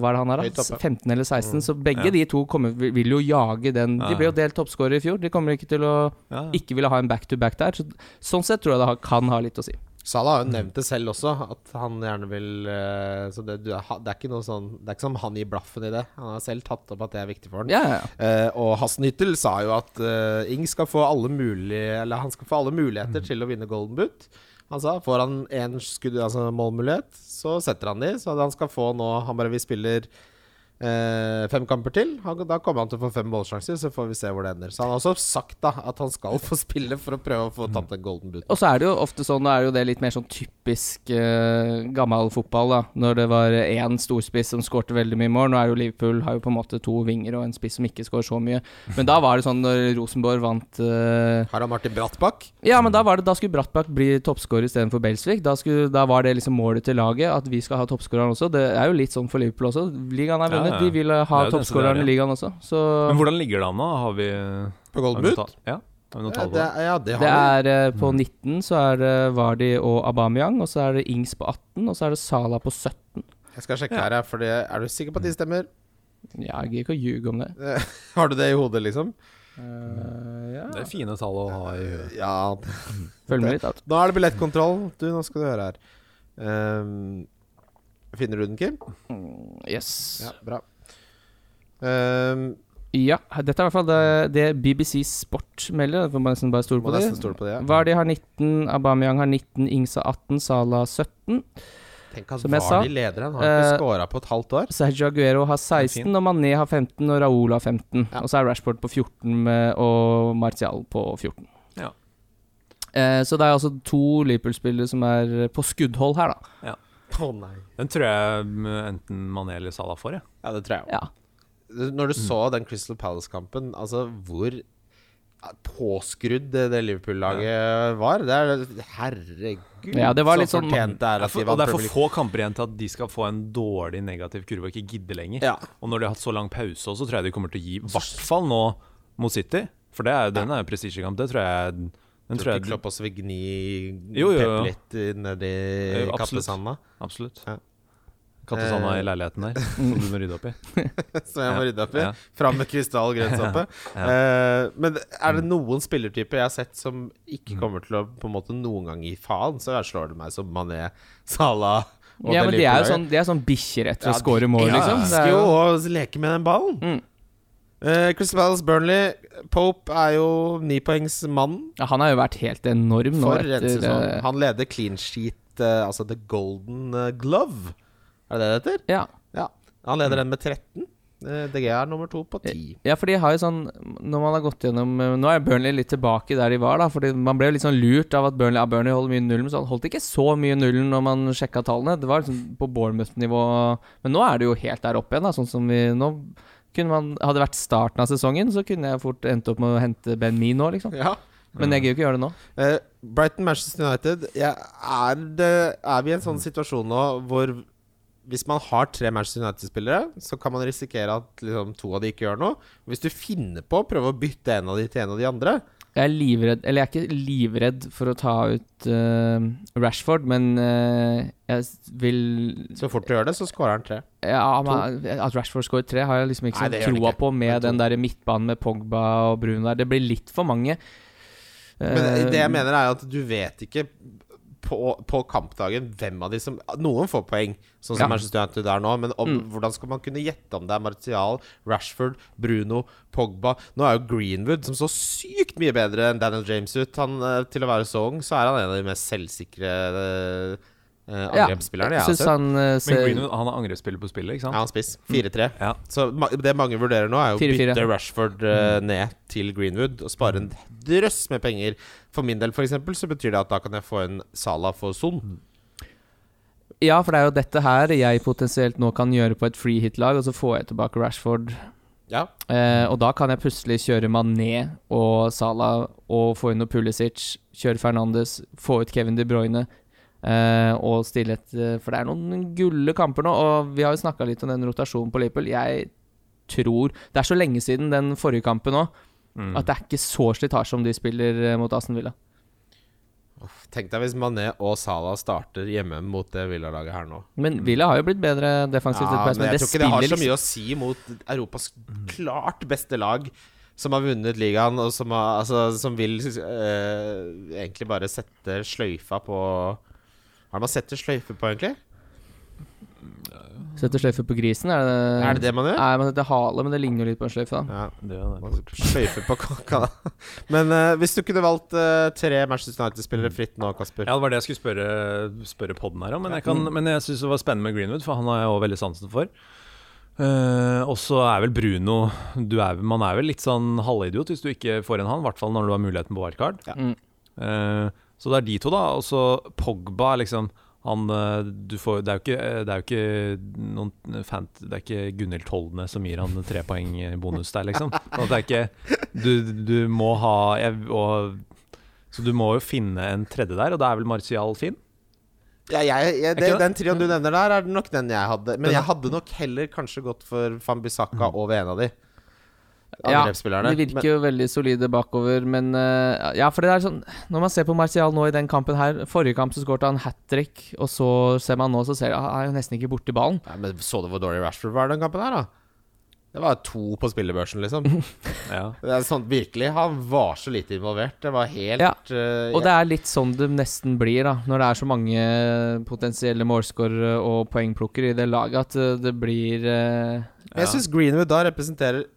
hva er det han er Høyt da? oppe. 15 eller 16, så begge Mm. Ja. de to kommer, vil- vil jo jage den. Ja, De ja. ble jo delt toppskårer i fjor. De kommer ikke til å Ja. ikke ville ha en back-to-back der. Så, sånn sett tror jeg det har- kan ha litt å si. Salah har jo nevnt det selv også, at han gjerne vil eh, Så det, du er, ha- det er ikke noe sånn Det er ikke som han gir blaffen i det. Han har selv tatt opp at det er viktig for han. Ja, ja, ja. Eh, og Hasnyttel sa jo at eh, Ing skal få alle mulige Eller han skal få alle muligheter til å vinne Golden Boot. Han sa får han én skudd, altså målmulighet, så setter han de. Så han skal få nå Han bare vi spiller eh, fem kamper til. Han, da kommer han til å få fem målsjanser, så får vi se hvor det ender. Så han har også sagt da at han skal få spille for å prøve å få tatt en Golden Boot. Og så er det jo ofte sånn, nå er jo det litt mer sånn typisk eh, gammel fotball, da. Når det var én storspiss som skårte veldig mye mål. Nå er jo Liverpool har jo på en måte to vinger og en spiss som ikke skårer så mye. Men da var det sånn når Rosenborg vant eh, Her har Martin Brattbakk. Ja, men da var det Da skulle Brattbakk bli toppskårer istedenfor Belsvik. Da, skulle, da var det liksom målet til laget, at vi skal ha toppskåreren også. Det er jo litt sånn for Liverpool også. Ligaen er Ja, vunnet. ja. De vil eh, ha Det er jo det som det er, toppskåreren ja. i ligaen også. Så Men hvordan ligger det an nå? Har vi På har Golden vi noe Boot? ta- Ja, har vi noe Ja, tall på det, det? ja, det det har han. er eh, Mm. på 19 så er det Vardi og Aubameyang, og så er det Ings på 18, og så er det Sala på 17. Jeg skal sjekke her, for er du sikker på at de stemmer? Ja, jeg gidder ikke å ljuge om det. Eh, Har du det i hodet, liksom? Det er fine tall å ha i huet. Ja, Følg med litt. altså. Da. Da er det billettkontroll. Du, nå skal du høre her. Ehm, finner du den, Kim? Yes. Ja, bra. Ehm, Ja. dette er i hvert fall det, det BBC Sport melder. Da får man nesten bare stole må på det. nesten stole på det. Ja. Vardi har 19, Aubameyang har 19, Ings har 18, Sala 17. Tenk at Som jeg sa, Vardy leder han. Har ikke eh, scora på et halvt år. Sergio Aguero har 16, og Mané har 15, og Raoul har 15. Ja. Og så er Rashford på 14, med, og Martial på 14. Ja. Eh, så det er altså to Liverpool-spillere som er på skuddhold her, da. Å nei Den tror jeg mm, enten Mané eller Salah får, jeg. Ja, det tror jeg Ja. Når du så den Crystal Palace-kampen, altså hvor ja, påskrudd det, det Liverpool-laget var Det er Herregud, Ja, det var litt så sånn- fortjent det er Ja, at for, de og det vant er for Premier League. få kamper igjen til at de skal få en dårlig negativ kurve og ikke gidde lenger. Ja. Og når de har hatt så lang pause også, så tror jeg de kommer til å gi, i hvert fall nå mot City. For det er, den er jo prestisjekamp. Det tror jeg Den tror Tror ikke jeg Klopp også vil gni Jo, jo, jo. Pep litt nedi Jo, absolutt. kattesanda? Absolutt. Ja. Kattesanda Eh. i leiligheten der, som du må rydde opp i. som jeg må Ja, rydde opp i. ja. Fram med krystall grønnsåpe. Eh, men er det noen spillertyper jeg har sett som ikke kommer til å på en måte noen gang gi faen, så jeg slår det meg som Mané, Salah og ja, men de er det jo Liverpool-laget. sånn, de er sånn bikkjer etter Ja, å score mål, ja, liksom. Det elsker er jo jo, å leke med den ballen. Mm. Eh, Crystal Palace Burnley. Pope er jo nipoengsmannen ja, han har jo vært helt enorm nå for en etter sesong. eh, Han leder clean sheet, eh, altså The Golden eh, Glove. Er det det det heter? ja. Ja. Han leder den med 13. Eh, DG er nummer to på 10. ja, for de har jo sånn Når man har gått gjennom eh, Nå er Burnley litt tilbake der de var, da. Fordi man ble jo litt sånn lurt av at Burnley, ja, Burnley holder mye nullen, men så han holdt ikke så mye nullen når man sjekka tallene. Det var liksom på Bournemouth-nivå. Men nå er det jo helt der oppe igjen, da. Sånn som vi nå kunne man, Hadde det vært starten av sesongen, så kunne jeg fort endt opp med å hente Ben Mee nå, liksom. Ja. Men jeg gidder jo ikke gjøre det nå. Eh, Brighton Manchester United jeg, er, det, er vi i en sånn situasjon nå hvor hvis man har tre Manchester United-spillere, så kan man risikere at liksom, to av de ikke gjør noe. Hvis du finner på å prøve å bytte en av de til en av de andre, Jeg er livredd Eller jeg er ikke livredd for å ta ut eh, Rashford, men eh, jeg s- vil Så fort du gjør det, så scorer han tre. ja, men At Rashford scorer tre, har jeg liksom ikke Nei, sånn det gjør han troa ikke. på Men med to. den der midtbanen med Pogba og Bruno der. Det blir litt for mange. Men det Eh, jeg mener er at du vet ikke på, på kampdagen hvem av de som Noen får poeng, sånn Ja. Mm. som Manchester United er nå, men om, hvordan skal man kunne gjette om det er Martial, Rashford, Bruno, Pogba Nå er jo Greenwood, som så sykt mye bedre enn Daniel James ut han, eh, til å være så ung, så er han en av de mest selvsikre eh, eh, ja, angrepsspillerne jeg jeg har syns sett. han eh, Men ser Greenwood han er angrepsspiller på spillet, ikke Ja, sant? han spiss. 4-3. Ja. Så ma det mange vurderer nå, er jo å 4-4. bytte Rashford eh, ned til Greenwood og spare en drøss med penger. For min del, for eksempel, så betyr det at da kan jeg få en Sala for Son. Ja, for det er jo dette her jeg potensielt nå kan gjøre på et free hit-lag, og så får jeg tilbake Rashford. Ja. Eh, og da kan jeg plutselig kjøre Mané og Salah og få inn noe Pulisic, kjøre Fernandes, få ut Kevin De Bruyne eh, og stille et eh, For det er noen gulle kamper nå, og vi har jo snakka litt om den rotasjonen på Liverpool. Jeg tror Det er så lenge siden den forrige kampen òg, Mm. at det er ikke så slitasje om de spiller eh, mot Aston Villa. Tenk deg hvis Mané og Sala starter hjemme mot det Villa-laget her nå. Men Villa har jo blitt bedre defensivt. Mm. Ja, etter hvert, men jeg det tror ikke det har spiller liksom- så mye å si mot Europas klart beste lag, som har vunnet ligaen, og som, har, altså, som vil eh, egentlig bare sette sløyfa på Hva er det man setter sløyfe på, egentlig? liksom- Setter sløyfe på grisen, er det Er det det man gjør? Nei, men det hale, men det ligner jo litt på en sløyfe, da. Ja. Det er jo det. Sløyfe på kaka. Men eh, hvis du kunne valgt eh, tre Manchester United-spillere fritt nå, Kasper Ja, det var det jeg skulle spørre, spørre podden her om. Men jeg, kan, men jeg syns det var spennende med Greenwood, for han har jeg òg veldig sansen for. Eh, og så er vel Bruno du er, Man er vel litt sånn halvidiot hvis du ikke får en han, i hvert fall når du har muligheten på wildcard. Ja. Mm. Eh, så det er de to, da. Og så Pogba, liksom. Han, eh, du får, det, er jo ikke, eh, det er jo ikke noen fant, Det er ikke Gunhild Toldene som gir han tre poeng bonus der, liksom. Sånn at det er ikke Du, du må ha jeg, og, Så du må jo finne en tredje der, og da er vel Martial fin? Ja, jeg, jeg, det, ikke det? den trioen du nevner der, er nok den jeg hadde. Men Den- jeg hadde nok heller kanskje gått for Fambisaka over en av de. Ja, Angrepsspillerne. de virker jo veldig solide bakover, men eh, Ja, for det er sånn Når man ser på Martial nå i den kampen her Forrige kamp så skåret han hat trick, og så ser man nå, så ser han han er jo nesten ikke borti ballen. Men, ja, men så du hvor dårlig Rashford var den kampen her, da? Det var to på spillebørsen, liksom. Ja. Det er sånn, virkelig, Han var så lite involvert. Det var helt Ja, eh, Og det er litt sånn det nesten blir, da, når det er så mange potensielle målskårere og poengplukkere i det laget, at eh, det blir eh, Men jeg syns Greenwood da representerer ut-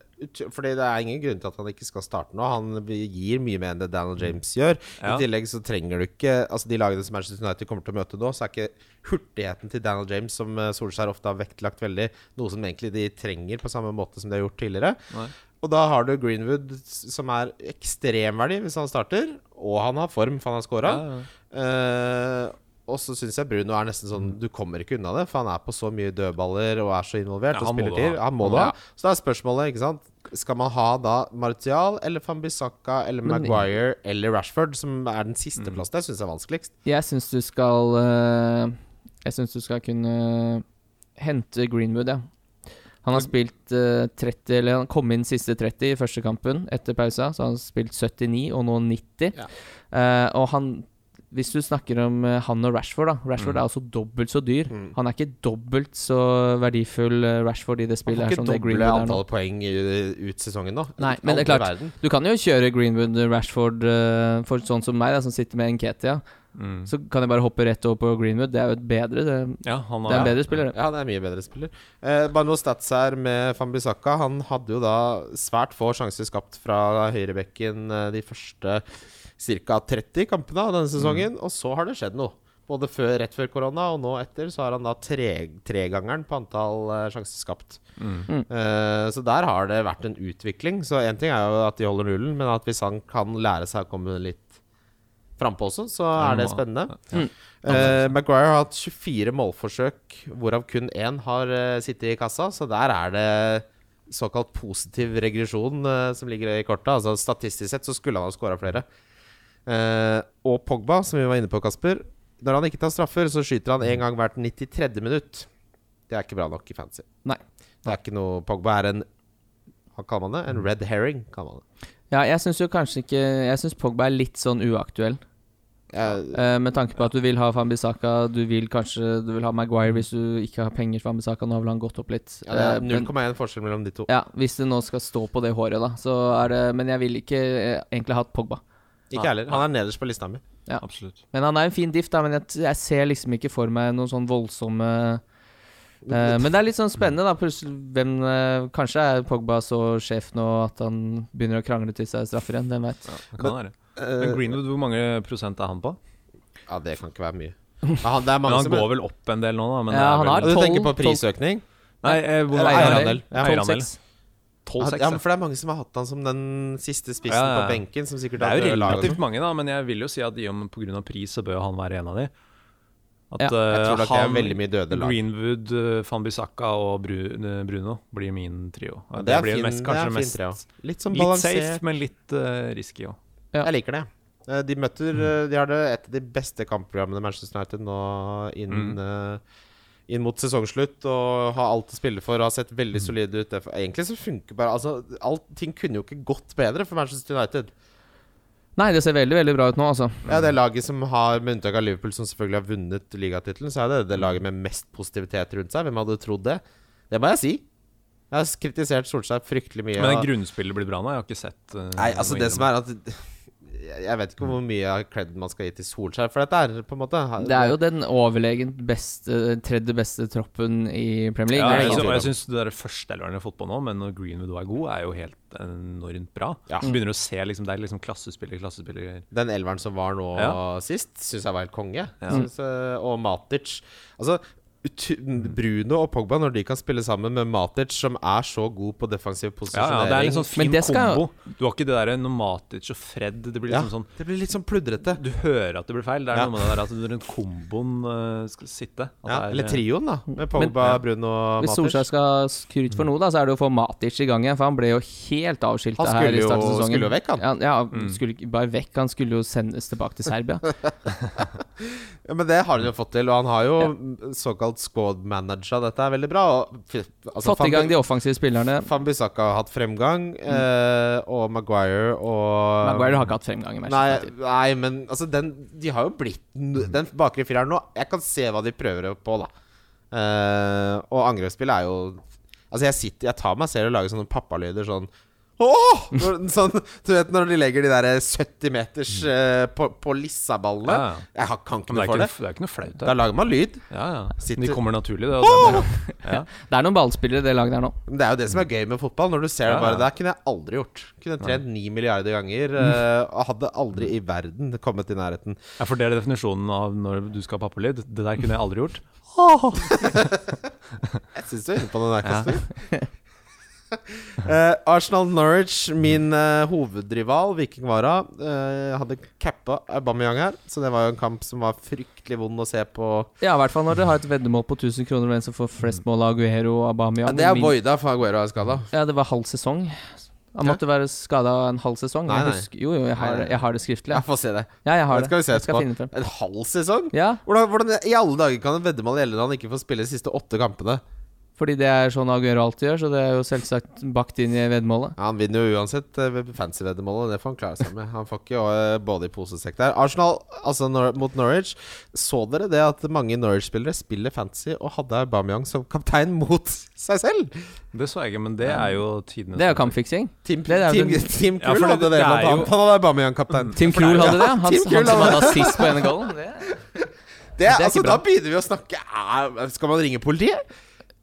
fordi det er ingen grunn til at han ikke skal starte nå. Han gir mye mer enn det Daniel James gjør. Ja. I tillegg så trenger du ikke Altså De lagene som Manchester United kommer til å møte nå, så er ikke hurtigheten til Daniel James, som eh, Solskjær ofte har vektlagt veldig, noe som egentlig de trenger på samme måte som de har gjort tidligere. Nei. Og da har du Greenwood, s- som er ekstremverdi hvis han starter, og han har form, for han har scora. Ja, ja. Eh, og så syns jeg Bruno er nesten sånn Du kommer ikke unna det, for han er på så mye dødballer og er så involvert. Ja, og han må spiller du ha. til. Han Mm, må du ha. Så da er spørsmålet, ikke sant Skal man ha da Martial eller Fambisaka eller Men- Mm. Maguire eller Rashford, som er den siste plassen? Det syns jeg er vanskeligst. Jeg syns du skal eh, Jeg syns du skal kunne hente Greenwood, ja. Han har spilt eh, 30 Eller han kom inn siste 30 i første kampen etter pausa, så han har spilt 79 og nå 90. Ja. Eh, og han Hvis du snakker om eh, han og Rashford, da Rashford Mm. er også dobbelt så dyr. Mm. Han er ikke dobbelt så verdifull eh, Rashford i det Han spillet får her ikke som det doble Greenwood er nå. antall poeng i- ut sesongen nå. Nei, men det er Aldri i klart. verden. Du kan jo kjøre Greenwood, Rashford, eh, for sånn som meg, da, som sitter med Nketia. Mm. Så kan jeg bare hoppe rett over på Greenwood. Det er jo et bedre det, ja, han det er har- en bedre spiller, det. Ja, det er mye bedre spiller. Eh, bare noen stats her med Fambisaka. Han hadde jo da svært få sjanser skapt fra høyrebekken eh, de første ca. 30 kampene av denne sesongen, og så har det skjedd noe. Både før, rett før korona og nå etter så har han da tre- tregangeren på antall eh, sjanser skapt. Eh, så der har det vært en utvikling. Så én ting er jo at de holder nullen, men at hvis han kan lære seg å komme litt frampå også, så er det spennende. Eh, Maguire har hatt 24 målforsøk, hvorav kun én har eh, sittet i kassa. Så der er det såkalt positiv regresjon eh, som ligger i kortet. Altså Statistisk sett så skulle han ha skåra flere. Eh, og Pogba, som vi var inne på, Kasper. Når han ikke tar straffer, så skyter han én gang hvert 93. minutt. Det er ikke bra nok i fantasy. Nei. Det er ikke noe Pogba er en Hva kaller man det? En red herring, kaller man det. Ja, jeg syns jo kanskje ikke Jeg syns Pogba er litt sånn uaktuell. Jeg, Eh, med tanke på at du vil ha Fambisaka, du vil kanskje Du vil ha Maguire hvis du ikke har penger til Fambisaka. Nå har vel han gått opp litt. ja, det Eh, er men- 0,1 forskjell mellom de to. Ja, hvis det nå skal stå på det håret, da, så er det Men jeg ville ikke eh, egentlig hatt Pogba. Ikke jeg heller. Han er nederst på lista mi. Ja. Absolutt. Men han er en fin diff, da, men jeg, t- jeg ser liksom ikke for meg noen sånn voldsomme eh, men det er litt sånn spennende, da. Plutselig, hvem, eh, kanskje er Pogba så sjef nå at han begynner å krangle til seg straffer igjen. Hvem veit. Det kan være. Men Eh, Greenwood, hvor mange prosent er han på? ja, det kan ikke være mye. Ja, han, det er Men mange han som går vel opp en del nå, da. Men Ja, det er han vel- har- Og Du tenker på 12, prisøkning? Nei, eh, hvor Eller eierandel. eierandel. Ja. Eierandel. 12-6. 12-6. Ja, ja. men for det er mange som har hatt han som den siste spissen Ja, ja, ja. på benken. Som sikkert Det er jo har laget relativt den. mange, da, men jeg vil jo si at i og med pga. pris, så bør han være en av de. At Ja. eh, Jeg tror nok det er han, veldig mye døde lag. Greenwood, eh, Fanbisaka og Bru- eh, Bruno blir min trio. Ja, Det, det er blir fin- mest, det er kanskje fin det mest trio. Litt sånn Litt safe, balansert. men litt eh, risky òg. Ja. Jeg liker det. Eh, De møter Mm. eh, De har det et av de beste kampprogrammene Manchester United nå inn, Mm. eh, inn mot sesongslutt. Og har alt å spille for. Har sett Mm. veldig solide ut. Derfor- Egentlig så funker bare altså, alt, Ting kunne jo ikke gått bedre for Manchester United. Nei, det ser veldig veldig bra ut nå, altså. Ja, Det laget som har, med unntak av Liverpool, som selvfølgelig har vunnet ligatittelen, så er det det laget med mest positivitet rundt seg. Hvem hadde trodd det? Det må jeg si. Jeg har s- kritisert Solskjær fryktelig mye. Men og- grunnspillet blir bra nå? Jeg har ikke sett eh, Nei, altså noe det som innom er at Jeg jeg vet ikke hvor mye av cred man skal gi til Solskjær for dette her, på en måte. Det er jo den overlegent beste, tredje beste troppen i Premier Ja, League. det er ingen jeg synes- tvil og jeg om. syns førsteelveren i fotball nå, men når Greenwood også er god, er jo helt enormt bra. Ja. Du begynner å se liksom, Det er liksom klassespiller, klassespiller Den elveren som var nå Ja. sist, syns jeg var helt konge. Synes, eh, og Matic. Altså, ut- Bruno og Pogba, når de kan spille sammen med Matic, som er så god på defensiv Ja, ja, posisjonering det er en sånn Men fin det skal- kombo. Du har ikke det derre Nomatic og Fred. Det blir Ja, liksom sånn Det blir litt sånn pludrete. Du hører at det blir feil. Det er Ja. noe med det der at når den komboen eh, skal sitte at Ja, det er- eller trioen, da. eh, Med Pogba, Bruno og Hvis Matic. Solskjær skal skryte for noe, da, så er det å få Matic i gang igjen. For han ble jo helt avskiltet Han her i skulle jo- starten av sesongen. skulle jo vekk, han. Ja, ja, Mm. skulle ikke bare vekk. Han skulle jo sendes tilbake til Serbia. Ja, men det har han jo fått til, og han har jo såkalt squad manager. Dette er veldig bra. Og, fy- altså, Fått i gang Fabio- de offensive spillerne. Fambisaka har hatt fremgang, eh, og Maguire og Maguire har ikke hatt fremgang i Nei, Manchester United. nei, men altså, den De har jo blitt n- Den bakre fireren nå Jeg kan se hva de prøver på, da. Eh, og angrepsspill er jo Altså, jeg sitter Jeg tar meg selv og lager sånne pappalyder sånn Åh! Når, sånn, du vet når de legger de der 70 meters eh, på, på Lissaballene. Ja, ja. Jeg har- kan ikke Men det noe for er det. ikke, noe- det er ikke noe flaut Da der. lager man lyd. Ja, ja. Sitter- De kommer naturlig, det. Og det er bra. ja. Det er noen ballspillere i det laget der nå. Men Det er jo det som er gøy med fotball. Når du ser Ja, det bare ja. Der kunne jeg aldri gjort. Kunne trent ni milliarder ganger eh, og hadde aldri i verden kommet i nærheten. ja, for det er definisjonen av når du skal ha pappalyd. Det der kunne jeg aldri gjort. Jeg syns du er inne på den der, Kasper. Eh, Arsenal Norwich, min eh, hovedrival, Viking Vara, eh, hadde cappa Aubameyang her. Så det var jo en kamp som var fryktelig vond å se på. Ja, i hvert fall når dere har et veddemål på 1000 kroner med en som får flest mål av Aguero og Aubameyang. Ja, det er Min- voida for Aguero er skada. Ja, det var halv sesong. Han måtte være skada en halv sesong. Nei, Jeg nei. husker, jo, jo, jeg har, Nei, nei. jeg har det skriftlig. Ja, Ja, få se det. ja jeg har Det det. skal vi se jeg skal etterpå. finne det frem. En halv sesong? Ja, Hvordan, hvordan i alle dager kan en veddemål gjelde når han ikke får spille de siste åtte kampene? fordi det er sånn Aguero alltid gjør, så det er jo selvsagt bakt inn i veddemålet. Ja, Han vinner jo uansett eh, ved fancy-veddemålet. Det får han klare seg med. Han får ikke eh, både i posesekk der. Arsenal altså Nor mot Norwich. Så dere det at mange Norwich-spillere spiller fancy og hadde Aubameyang som kaptein mot seg selv? Det så jeg ikke, men det er jo tidenes Det er jo kampfiksing. Team, Det er jo team, den- team Krull Ja, for det- hadde det, det er blant jo- Mm. annet. Han hadde Aubameyang-kaptein. Tim Krul hadde det. Han, Tim Krul han som hadde hadde assist på ene goalen. Det. Det, ikke altså, bra. da begynner vi å snakke Æ, Skal man ringe politiet?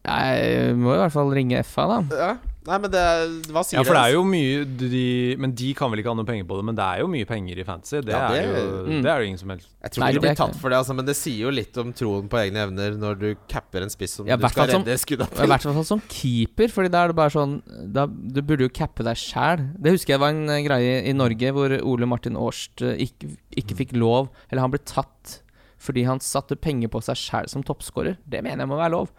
Jeg må i hvert fall ringe FA, da. Ja. Nei, men det er- Hva sier Ja, for det er jo mye de, Men de kan vel ikke ha noe penger på det, men det er jo mye penger i fantasy. Det, Ja, det- mm. er, jo, det er jo ingen som helst Jeg tror Nei, ikke du det blir er ikke tatt det. for det, altså, men det sier jo litt om troen på egne evner når du capper en spiss som Ja, du hvert skal fall som- redde skudda I til. hvert fall som keeper, Fordi da er det bare sånn da, Du burde jo cappe deg sjæl. Det husker jeg var en eh, greie i Norge hvor Ole Martin Årst eh, ikke, ikke fikk lov Eller han ble tatt fordi han satte penger på seg sjæl som toppskårer. Det mener jeg må være lov.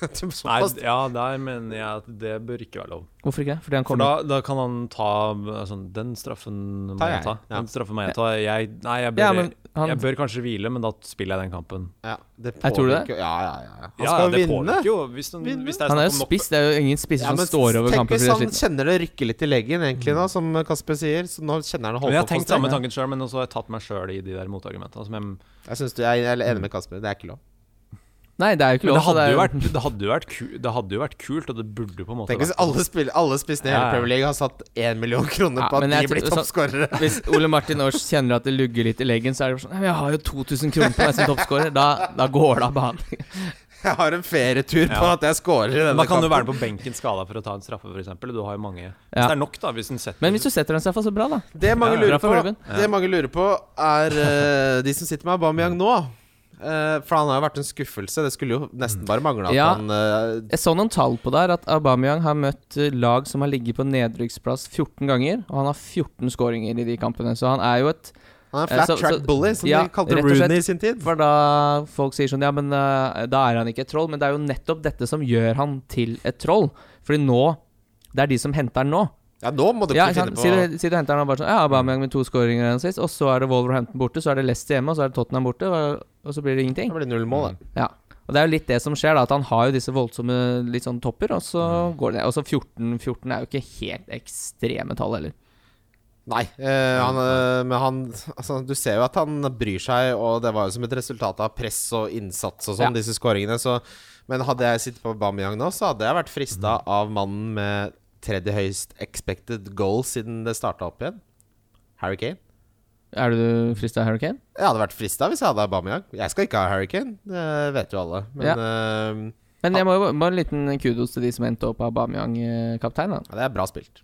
Nei, ja, der mener jeg at det bør ikke være lov. Hvorfor ikke? Fordi han For kommer da, da kan han ta altså, Den straffen må Tar jeg jeg, ta. ja. Den straffen må jeg ta. Jeg, nei, jeg bør Ja, men Han, Jeg bør kanskje hvile, men da spiller jeg den kampen. Ja, det Jeg tror det. påvirker- Ja, ja, ja. Han Ja, ja, skal det vinne. påvirker jo hvis, den, Vinne. hvis det er han er jo snakk om nok spiss. Det er jo ingen spisser Ja, som men står over tenk kamper fordi hvis de er han slitne. kjenner det rykker litt i leggen, egentlig, Mm. nå, som Kasper sier. Så nå kjenner han det Men jeg holder har på å tenkt få samme streng. tanken sjøl, men så har jeg tatt meg sjøl i de der motargumentene. Som jeg, men Jeg, synes du, jeg er enig med Kasper. Det er ikke lov. Nei, det er jo ikke lov. det så hadde, er jo vært, det, hadde jo vært ku, det hadde jo vært kult, og det burde på en måte Tenk hvis vært alle, spill, alle spissene i Ja, hele ja. Premier League har satt én million kroner Ja, på at men de jeg blir tror- så- toppskårere. Hvis Ole Martin Aars kjenner at det lugger litt i leggen, så er det bare sånn «Nei, men Jeg har jo 2000 kroner på meg som toppskårer. Da, da går det av banen. Jeg har en ferietur på Ja. at jeg scorer i Men denne Da kan du kampen. være på benken skada for å ta en straffe, f.eks. Du har jo mange Hvis Ja. det er nok, da. Hvis den setter Men hvis du setter den, Stefan, så bra, da. Det mange, Ja, bra lurer for på, klubben. det mange lurer på, er eh, de som sitter med Aubameyang nå. Eh, for han har jo vært en skuffelse. Det skulle jo nesten bare mangle at Ja. han eh, Jeg så noen tall på der at Aubameyang har møtt eh, lag som har ligget på nedrykksplass 14 ganger, og han har 14 skåringer i de kampene. Så han er jo et Han er en Eh, flat så- track så- bully, som ja, de kalte rett og slett. Rooney i sin tid. For da folk sier sånn Ja, men eh, da er han ikke et troll. Men det er jo nettopp dette som gjør han til et troll. Fordi nå Det er de som henter han nå. Ja, nå må du Ja, ikke ikke finne sant? på Si du, si du henter han og bare sånn Ja, Aubameyang med to skåringer igjen sist, og så er det Wolverhampton borte, så er det Leicester hjemme, og så er det Tottenham borte, og, og så blir det Det ingenting. blir null mål, det. Ja. Og det er jo litt det som skjer, da, at han har jo disse voldsomme litt sånn topper, og så går det ned. Og så 14 14 er jo ikke helt ekstreme tall heller. Nei, eh, han, eh, men han altså, Du ser jo at han bryr seg, og det var jo som et resultat av press og innsats og sånn, Ja. disse skåringene. Så, men hadde jeg sittet på Bamiyang nå, så hadde jeg vært frista Mm. av mannen med tredje høyest expected goal siden det starta opp igjen. Harry Kane. Er du frista av Hurricane? Jeg hadde vært frista hvis jeg hadde Aubameyang. Jeg skal ikke ha Harry Kane, det vet jo alle. Men eh, Men jeg må jo bare en liten kudos til de som endte opp av Aubameyang-kaptein. da. ja, det er bra spilt.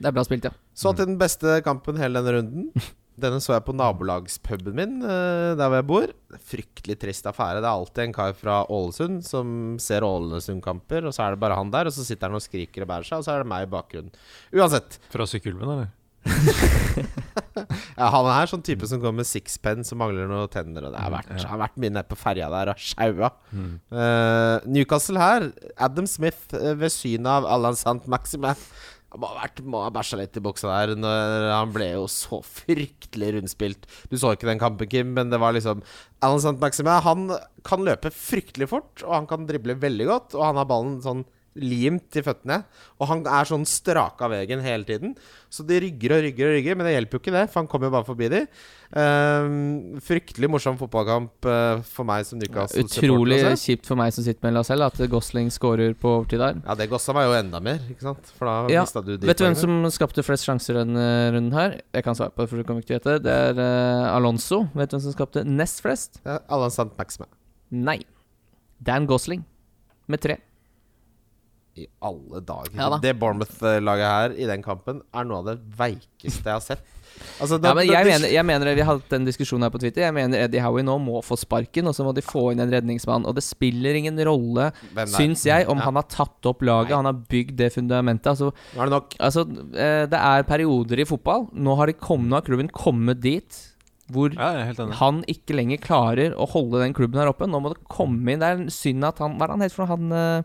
Det er bra spilt, ja. Så til den beste kampen hele denne runden. Denne så jeg på nabolagspuben min, eh, der hvor jeg bor. Fryktelig trist affære. Det er alltid en kar fra Ålesund som ser Ålesund-kamper, og så er det bare han der, og så sitter han og skriker og bærer seg, og så er det meg i bakgrunnen. Uansett, Fra Sykkylven, eller? ja, han er sånn type som går med sixpenn som mangler noen tenner, og det har vært, har vært mye nede på ferja der og sjaua. Eh, Newcastle her, Adam Smith eh, ved synet av Alan Sant Maxime. Han må ha, vært, må ha bæsja litt i buksa der. Når han ble jo så fryktelig rundspilt. Du så ikke den kampen, Kim, men det var liksom Alan Sant Maxime Han kan løpe fryktelig fort, og han kan drible veldig godt. Og han har ballen sånn limt i føttene. Og han er sånn straka veggen hele tiden. Så de rygger og rygger og rygger, men det hjelper jo ikke det, for han kommer jo bare forbi de. Eh, fryktelig morsom fotballkamp eh, for meg som Newcastle-supporter. Utrolig å se. kjipt for meg som sitter med Lascelles, at Gosling scorer på overtid der. Ja, det gossa meg jo enda mer, ikke sant? For da Ja, mistet du de Vet du hvem poengene. som skapte flest sjanser denne runden her? Jeg kan svare på det, for du kommer ikke til å gjette. Det er eh, Alonso. Vet du hvem som skapte nest flest? ja, Alan Sant Maxime. Nei. Dan Gosling med tre. I alle dager. Ja da. det Bournemouth-laget her i den kampen er noe av det veikeste jeg har sett. Altså, da- Ja, men da- jeg du- mener, jeg mener Vi har hatt den diskusjonen her på Twitter. Jeg mener Eddie Howie nå må få sparken, og så må de få inn en redningsmann. Og det spiller ingen rolle, Hvem det er. syns jeg, om Ja. han har tatt opp laget, Nei. han har bygd det fundamentet. Altså, Nå er det nok. altså eh, det er perioder i fotball. Nå har, de kommet, nå har klubben kommet dit hvor Ja, jeg er helt enig. han ikke lenger klarer å holde den klubben her oppe. Nå må det komme inn Det er synd at han Hva er det han het for noe? Han eh,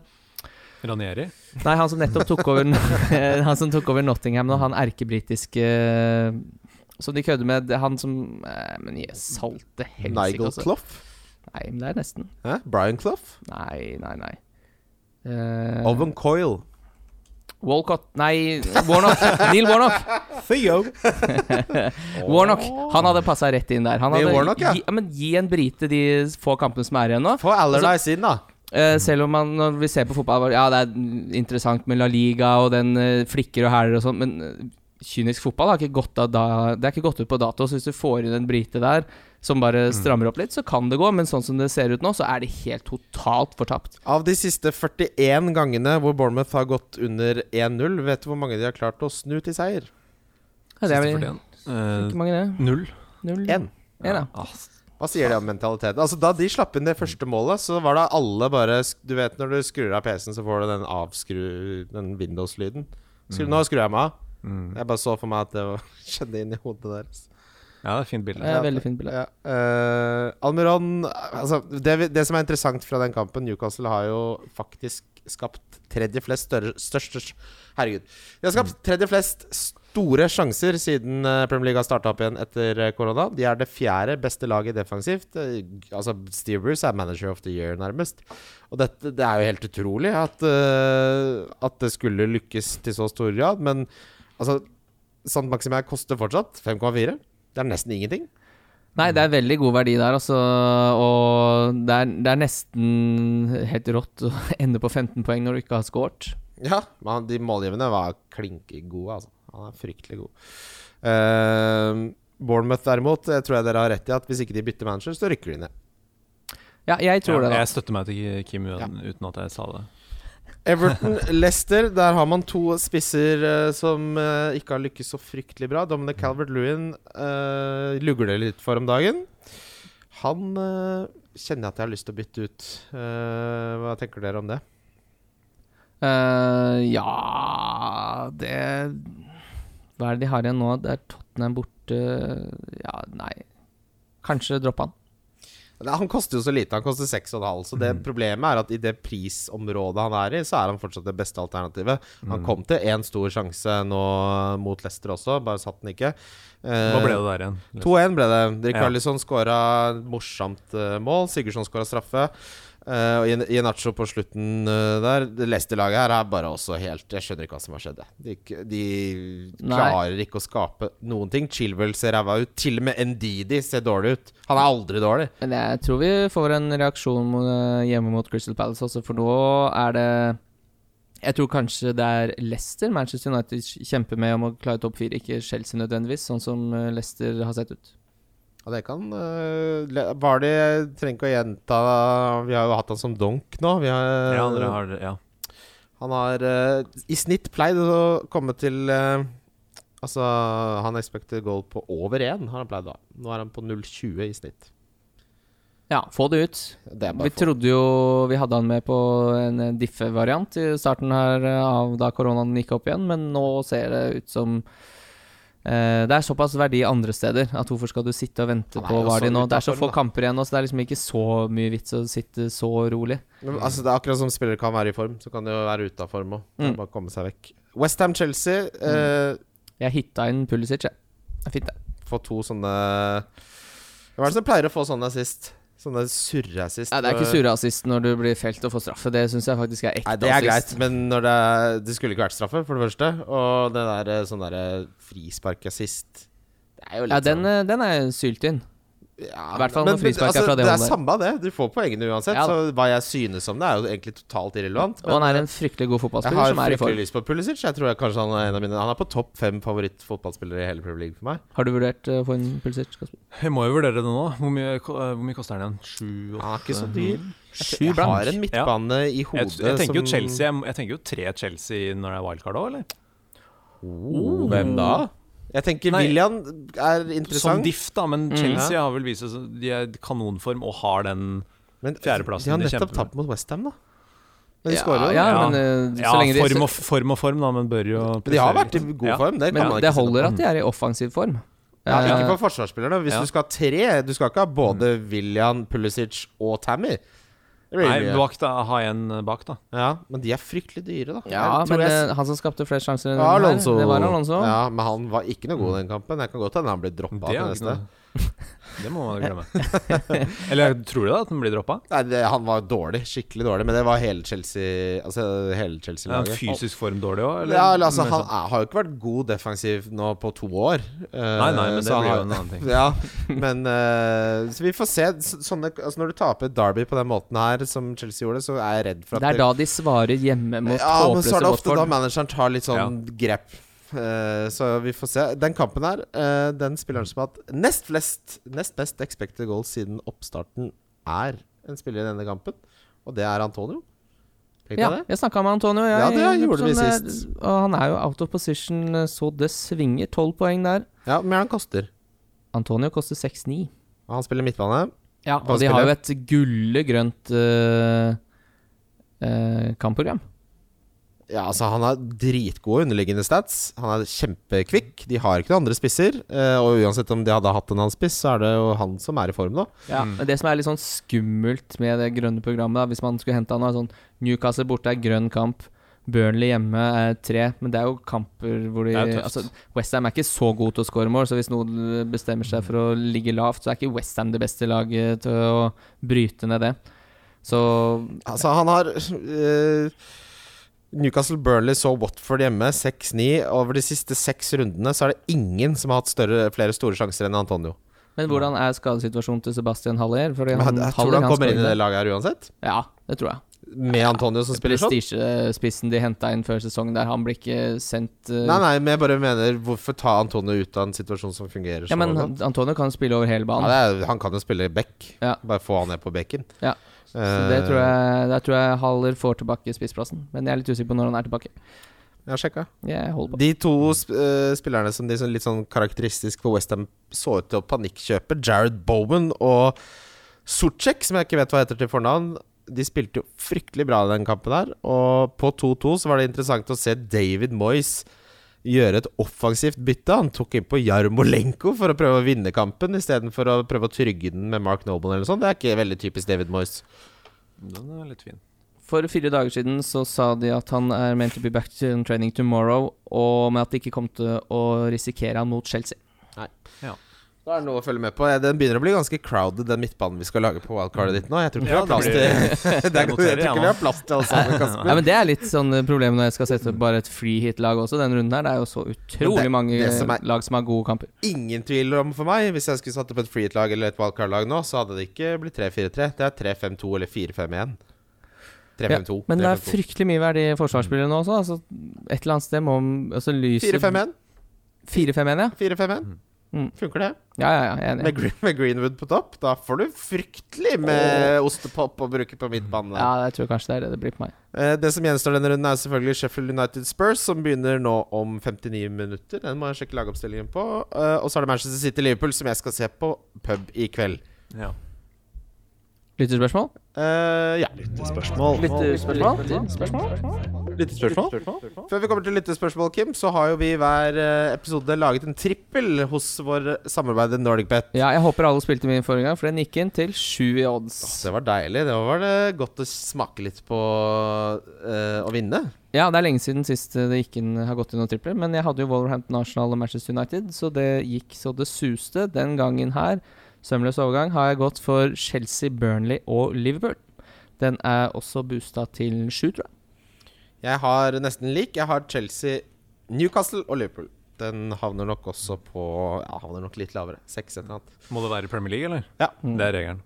Ranieri? Nei, han som nettopp tok over Han som tok over Nottingham nå, han erkebritiske eh, Som de kødder med. det- Han som eh, Men jeg salte helsike, Nigel altså. Clough. Nei, men det er nesten. Hæ? Brian Clough. Nei, nei, nei. Eh, Owen Coyle. Walcott Nei, Warnock. Neil Warnock. Theo. Warnock. Han hadde passa rett inn der. Han Neil hadde, Warnock, ja. gi, ja, men gi en brite de få kampene som er igjen nå. Få Allardyce inn, da. Eh, selv om man, når vi ser på fotball bare, Ja, det er interessant med La Liga og den eh, flikker og hæler og sånn, men eh, kynisk fotball har ikke gått av da, Det er ikke gått ut på dato. Så hvis du får inn en brite der som bare Mm. strammer opp litt, så kan det gå. Men sånn som det ser ut nå, så er det helt totalt fortapt. Av de siste 41 gangene hvor Bournemouth har gått under 1-0, vet du hvor mange de har klart å snu til seier? Ja, det er vel Siste fortjent. ikke mange, det. Eh, Null. Null. Én. En, ja. Ah, Hva sier det om mentaliteten? Altså Da de slapp inn det første målet, så var det alle bare Du vet når du skrur av PC-en, så får du den avskru... Den Windows-lyden. Skru, Nå skrur jeg meg av. Mm. Jeg bare så for meg at det var, skjedde inn i hodet deres. Ja, det er et fint bilde. Det er et veldig fint bilde. Ja. eh, Almiron altså, det, vi- det som er interessant fra den kampen Newcastle har jo Mm. faktisk skapt tredje flest større, største Herregud. De har skapt tredje flest s- store sjanser siden eh, Premier League har starta opp igjen etter eh, korona. De er det fjerde beste laget defensivt. Eh, Altså, Steve Bruce er manager of the year, nærmest. Og dette, det er jo helt utrolig at, eh, at det skulle lykkes til så stor grad. Men altså, Sant Maximair koster fortsatt 5,4. Det er nesten ingenting. Nei, det er veldig god verdi der, altså. Og det er, det er nesten helt rått å ende på 15 poeng når du ikke har scoret. Ja, men han- de målgivende var klinkegode, altså. Han er fryktelig god. Eh, Bournemouth derimot, jeg tror jeg dere har rett i at hvis ikke de bytter manager, så rykker de ned. Ja, jeg tror det, da. Jeg støtter meg til Kim uten, uten at jeg sa det. Everton Leicester, der har man to spisser eh, som eh, ikke har lykkes så fryktelig bra. Dominic Calvert-Lewin eh, lugger det litt for om dagen. Han eh, kjenner jeg at jeg har lyst til å bytte ut. Eh, hva tenker dere om det? Eh, ja Det Hva er det de har igjen nå? Det er Tottenham borte Ja, nei Kanskje droppe han. Nei, Han koster jo så lite, han koster 6,5. Så Mm. det problemet er at i det prisområdet han er i, så er han fortsatt det beste alternativet. Mm. Han kom til én stor sjanse nå mot Leicester også, bare satt den ikke. Eh, Hva ble det der igjen? 2-1 ble det. Dirk Ja. Carlisson skåra morsomt eh, mål. Sigurdsson skåra straffe. Eh, og Ian- Ianacho på slutten eh, der. Det Leicester-laget her er bare også helt Jeg skjønner ikke hva som har skjedd. jeg. De, k- de Nei. klarer ikke å skape noen ting. Chilwell ser ræva ut. Til og med Ndidi ser dårlig ut. Han er aldri dårlig. Men jeg tror vi får en reaksjon mot, hjemme mot Crystal Palace også, for nå er det Jeg tror kanskje det er Leicester Manchester United kjemper med om å klare topp fire, ikke Chelsea nødvendigvis, sånn som eh, Leicester har sett ut. Ja, det kan øh, le- Vardy trenger ikke å gjenta Vi har jo hatt han som donk nå. Vi har, Ja, dere har det. Ja. Han har øh, i snitt pleid å komme til øh, Altså, han expected goal på over én, har han pleid da. Nå er han på 0,20 i snitt. Ja, få det ut. Det er Vi bare for. trodde jo vi hadde han med på en eh, diffe-variant i starten her eh, av da koronaen gikk opp igjen, men nå ser det ut som eh, Det er såpass verdi andre steder at hvorfor skal du sitte og vente Han er på jo Vardy så nå? Det er så utenfor, få da. kamper igjen nå, så det er liksom ikke så mye vits å sitte så rolig. Men, altså, det er akkurat som spillere kan være i form, så kan de jo være ute av form òg. Mm. Bare komme seg vekk. Westham-Chelsea øh, Jeg hitta inn Pulisic, jeg. Det er fint, det. får to sånne Hvem er det som pleier å få sånne sist? Sånne surreassist. Ja, det er ikke øh, surreassist når du blir felt og får straffe, det syns jeg faktisk er ekte Nei, det er greit, assist. men når det, er, det skulle ikke vært straffe, for det første. Og det der eh, sånn derre frisparkassist Det er jo litt Ja, den, eh, den er sylt inn. sånn ja, i hvert fall men- når frispark er altså, fra det Det er holdet. samme det. Du får poengene uansett. Ja da. så hva jeg synes om det, er jo egentlig totalt irrelevant. Og han men er en eh, fryktelig god jeg har fotballspiller som er i fryktelig form. lyst på Pulisic. Jeg tror jeg kanskje Han er en av mine Han er på topp fem favorittfotballspillere i hele Premier League for meg. Har du vurdert eh, å få inn Pulisic? Kasper? Jeg må jo vurdere det nå. Hvor mye, ko- eh, hvor mye koster den igjen? Sju? åtte? Han er ikke så dyr. eh, Sju Jeg blank. har en midtbane i Ja. Jeg, hodet jeg tenker jo som- Chelsea Jeg, jeg tenker jo tre Chelsea når det er wildcard òg, eller? Oh, hvem da? Jeg tenker Nei. William er Som interessant. diff, da, men Mhm. Chelsea har vel vist seg De er i kanonform og har den Men altså, Fjerdeplassen de har de nettopp kjemper med. tapt mot Westham, da. Men de Ja, skårer jo. ja, da. Ja. men, eh, Ja, så lenge de- form og, form og form, da, men bør jo Men de har prestere vært i litt. god Ja. form. Det Men kan man det ikke si noe holder om. at de er i offensiv form. ja, Eh, Ikke for forsvarsspillerne. Hvis Ja. du skal ha tre, du skal ikke ha både William, Pulisic og Tammy. Det blir Nei, mye. bak da, ha en eh, bak, da. ja, men de er fryktelig dyre, da. ja, Jeg tror men jeg- eh, han som skapte flest sjanser, i ja, den her, Alonso. det var Alonso. Ja, men han var ikke noe god i den kampen. Jeg kan godt hende han blir droppa til Det, er jo ikke neste. noe. det må man glemme. Eller tror du da at den blir droppa? Nei, det, han var dårlig. Skikkelig dårlig. Men det var hele Chelsea Altså hele Er han Chelsea-laget. fysisk form dårlig òg, eller? Ja, eller, altså, Men han sånn- er, har jo ikke vært god defensiv nå på to år. eh, Nei, nei, men det blir jo en annen ting. ja, men eh, Så vi får se. Så, sånne, altså, når du taper Derby på den måten her, som Chelsea gjorde, så er jeg redd for at Det er da de svarer hjemme mot Ja, men så håpløse er det ofte da Watford. manageren tar litt sånn grep. Eh, så vi får se. Den kampen her, eh, den spilleren som har hatt nest flest Nest best expected goals siden oppstarten, er en spiller i denne kampen, og det er Antonio. Tenkte Ja, jeg det? jeg snakka med Antonio. Jeg, Ja, det gjorde vi sånn, sist. eh, Og han er jo out of position, eh, så det svinger. Tolv poeng der. Ja, Hvor mye er det han koster? Antonio koster 6-9. Han spiller midtbane. Ja, og de Vanskelig. har jo et gulle grønt eh, eh, kampprogram. Ja, altså Han har dritgode underliggende stats. Han er kjempekvikk. De har ikke noen andre spisser. eh, Og uansett om de hadde hatt en annen spiss, så er det jo han som er i form nå. Ja, men Det som er litt sånn skummelt med det grønne programmet, da, hvis man skulle hente han, er sånn Newcastle borte er grønn kamp. Burnley hjemme er tre, men det er jo kamper hvor de Det er jo tøft. altså, Westham er ikke så god til å score mål, så hvis noen bestemmer Mm. seg for å ligge lavt, så er ikke Westham det beste laget til å bryte ned det. Så Altså, han har eh, Newcastle Burnley så Watford hjemme 6-9. Over de siste seks rundene så er det ingen som har hatt større, flere store sjanser enn Antonio. Men hvordan er skadesituasjonen til Sebastian Haller? Fordi Men han, jeg, jeg tror han kommer inn i det laget. laget her uansett. Ja, det tror jeg. Med Antonio som spiller sånn. Prestisjespissen de henta inn før sesongen der, han blir ikke sendt eh, Nei, nei, men jeg bare mener Hvorfor ta Antonio ut av en situasjon som fungerer Ja, sånn? men og sånn? Antonio kan spille over hele Ja, banen. det er, han kan jo spille back. Ja. Bare få han ned på bekken. Eh, Ja. Så det tror jeg, der tror jeg Haller får tilbake spissplassen. Men jeg er litt usikker på når han er tilbake. Jeg har sjekka. Jeg holder på. De to sp eh, spillerne som de som litt sånn karakteristisk for Westham så ut til å panikkjøpe, Jared Bowen og Sorcek, som jeg ikke vet hva heter til fornavn, de spilte jo fryktelig bra i den kampen her. Og på 2-2 så var det interessant å se David Moyes gjøre et offensivt bytte. Han tok inn på Jarmolenko for å prøve å vinne kampen istedenfor å prøve å trygge den med Mark Noble eller noe sånt. Det er ikke veldig typisk David Moyes. Den er litt fin. For fire dager siden så sa de at han er meant to be back to training tomorrow, og med at de ikke kom til å risikere han mot Chelsea. Da er det noe å følge med på. Den begynner å bli ganske crowded, den midtbanen vi skal lage på wildcardet ditt nå. Jeg tror ikke vi Ja, har plass det til blir- Det er- Jeg tror noterer jeg ikke nå. vi har plass til alle sammen, Nei, Kasper. men Det er litt sånn eh, problem når jeg skal sette opp bare et free hit-lag også. Den runden her, det er jo så utrolig Men det- mange det som er- eh, lag som har gode kamper. Ingen tvil om for meg. Hvis jeg skulle satt opp et freehit-lag eller et wildcard-lag nå, så hadde det ikke blitt 3-4-3. Det er 3-5-2 eller 4-5-1. 3-5-2. Men det er 3-5-2. fryktelig mye verdi i forsvarsspillere nå også. Altså, et eller annet sted må altså, lyset 4-5-1. 4-5-1, ja. 4-5-1. Mm. Funker det? Ja, ja, ja, jeg er enig. Med, Green, med Greenwood på topp, da får du fryktelig med ostepop å bruke på midtbanen. der. Ja, jeg tror kanskje det er det det blir på meg. Eh, Det som gjenstår denne runden, er selvfølgelig Sheffield United Spurs, som begynner nå om 59 minutter. Den må jeg sjekke lagoppstillingen på. Eh, Og så er det Manchester City-Liverpool, som jeg skal se på pub i kveld. Ja. Lytterspørsmål? Eh, ja. Lyttespørsmål. eh, Lytterspørsmål? Før vi kommer til lyttespørsmål, Kim, så har jo vi i hver eh, episode laget en trippel hos vår samarbeider NordicBet. Ja, jeg håper alle spilte min forrige gang, for den gikk inn til sju i odds. Det var deilig. Det var det godt å smake litt på eh, å vinne. Ja, det er lenge siden sist eh, det gikk inn, har gått inn noen tripler, men jeg hadde jo Wolverhampton Arsenal og Manchester United, så det gikk så det suste. Den gangen her, sømløs overgang, har jeg gått for Chelsea, Burnley og Liverpool. Den er også boosta til sju, tror jeg. Jeg har nesten lik. Jeg har Chelsea, Newcastle og Liverpool. Den havner nok også på Ja, havner nok litt lavere. Seks et eller annet. Må det være i Premier League, eller? Mm. Ja. Det er regelen.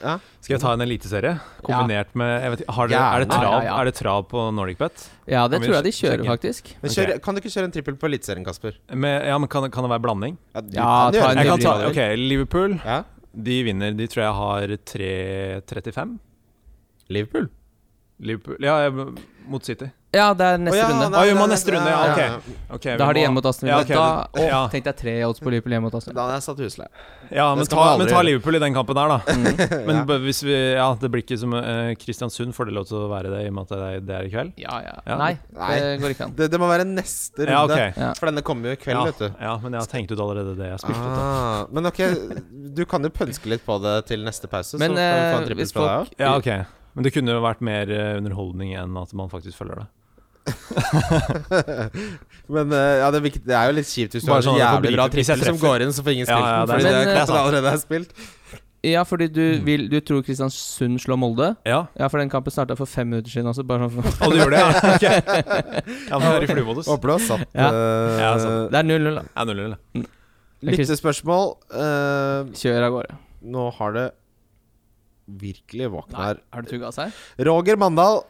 Ja. Skal jeg ta en eliteserie kombinert med jeg vet, ikke, har dere, er, det Gjerne. trav, Ja, ja, ja. er det trav på NordicBet? Ja, det Kan vi tror jeg de sj- kjører, sjekke? faktisk. Men kjør, Kan du ikke kjøre en trippel på Eliteserien, Kasper? Med, ja, men kan, kan det være blanding? Ja, du Ja, ta en det. Jeg kan ta, blir- ok, Liverpool Ja. de vinner. De tror jeg har 3.35. Liverpool. Liverpool Ja, jeg- mot City. Ja, det er neste Å, ja, runde. nei, Ah, gjør man nei, neste runde, ja, ok. Ok, vi Da har de må- hjemme mot Aston Villa. Ja, ok, da, å, ja. tenkte jeg tre odds på Liverpool hjemme mot Aston Villa. Da hadde jeg satt husleie. Ja, men skal man ta, aldri men ta gjøre. Liverpool i den kampen der, da. Mm. Men b- hvis vi Ja, det blir ikke som eh, Kristiansund får det lov til å være det, i og med at det er, det er i kveld. Ja, ja. Ja. Nei, Nei. det går ikke an. Det, det må være neste runde. Ja, ok. Ja. For denne kommer jo i kveld, ja, vet du. ja, men jeg har tenkt ut allerede det jeg spilte. ut, da. Ah, men ok, du kan jo pønske litt på det til neste pause. Men så kan vi få eh, en trippel hvis fra deg folk også. Ja, ok Men det kunne jo vært mer eh, underholdning enn at man faktisk følger det. Men eh, ja, det, er viktig, det er jo litt kjipt hvis du har Bare en sånn at det jævlig får bra bli- hvis jeg trippel som treffer. går inn, så får ingen spilt Ja, ja, den. Fordi det er- Men, det, er eh, klart det allerede er spilt. Ja, fordi du, vil, du tror Kristiansund slår Molde. Ja, Ja, for den kampen starta for fem minutter siden også. Bare sånn for, Og du gjør det? Ja, ok Ja, men det er i flymodus. Håper du har satt Ja. eh, Ja, altså, sant. det er 0-0. da. Ja, null, null. Lyttespørsmål. Eh, Kjør av gårde. nå har det virkelig våkna her. Har du tugga seg? Roger Mandal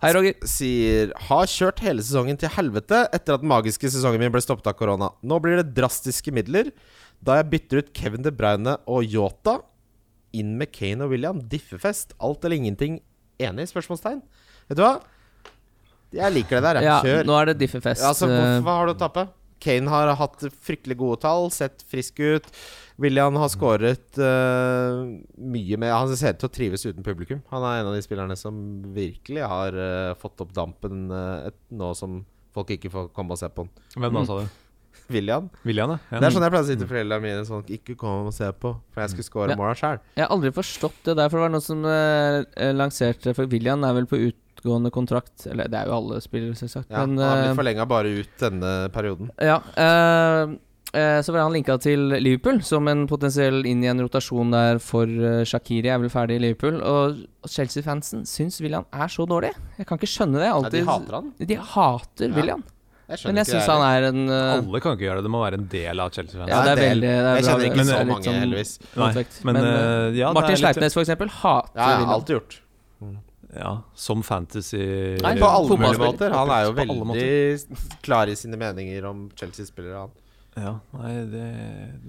Hei, Roger. sier Har kjørt hele sesongen til helvete etter at den magiske sesongen min ble stoppet av korona. Nå blir det drastiske midler da jeg bytter ut Kevin De Bruyne og Yota. Inn med Kane og William. Diffefest. Alt eller ingenting. Enig? Spørsmålstegn. Vet du hva? Jeg liker det der. Ja, Jeg. Kjør. nå er det Diffefest. eh, Ja, altså, hvorfor- hva har du å tape? Kane har hatt fryktelig gode tall, sett frisk ut. William har skåret eh, mye med Han ser ut til å trives uten publikum. Han er en av de spillerne som virkelig har eh, fått opp dampen eh, et, nå som folk ikke får komme og se på han. Hvem da, sa du? William. William, ja. Det er sånn jeg pleier å si til foreldrene mine, sånn ikke kom og se på, for jeg skulle score Ja. måla sjæl. Jeg har aldri forstått det der, for det var noe som eh, eh, lanserte For William er vel på ut, utgående kontrakt. Eller det er jo alle spillere, selvsagt. Ja, men han har eh, blitt forlenga bare ut denne perioden. Ja, eh, eh, så ble han linka til Liverpool som en potensiell inn i en rotasjon der for eh, Shaqiri er vel ferdig i Liverpool. Og Chelsea-fansen syns William er så dårlig. Jeg kan ikke skjønne det. Ja, de Alltid, hater han. de hater Ja, William. Jeg Men jeg ikke det syns han er en eh, Alle kan ikke gjøre det, det må være en del av Chelsea-fansen. Ja, det er Det er en del. veldig det er bra, Jeg kjenner ikke men det så er litt sånn mange, heldigvis. Nei, konfekt. men, eh, eh, ja, det er Martin litt- Sleipnes, for eksempel, hater Ja, ja, William. alt er gjort. Ja, som fantasy Nei, På alle mulige fotballspiller. måter. Han er jo På alle veldig klar i sine meninger om Chelsea-spillere. han. Ja, nei, det,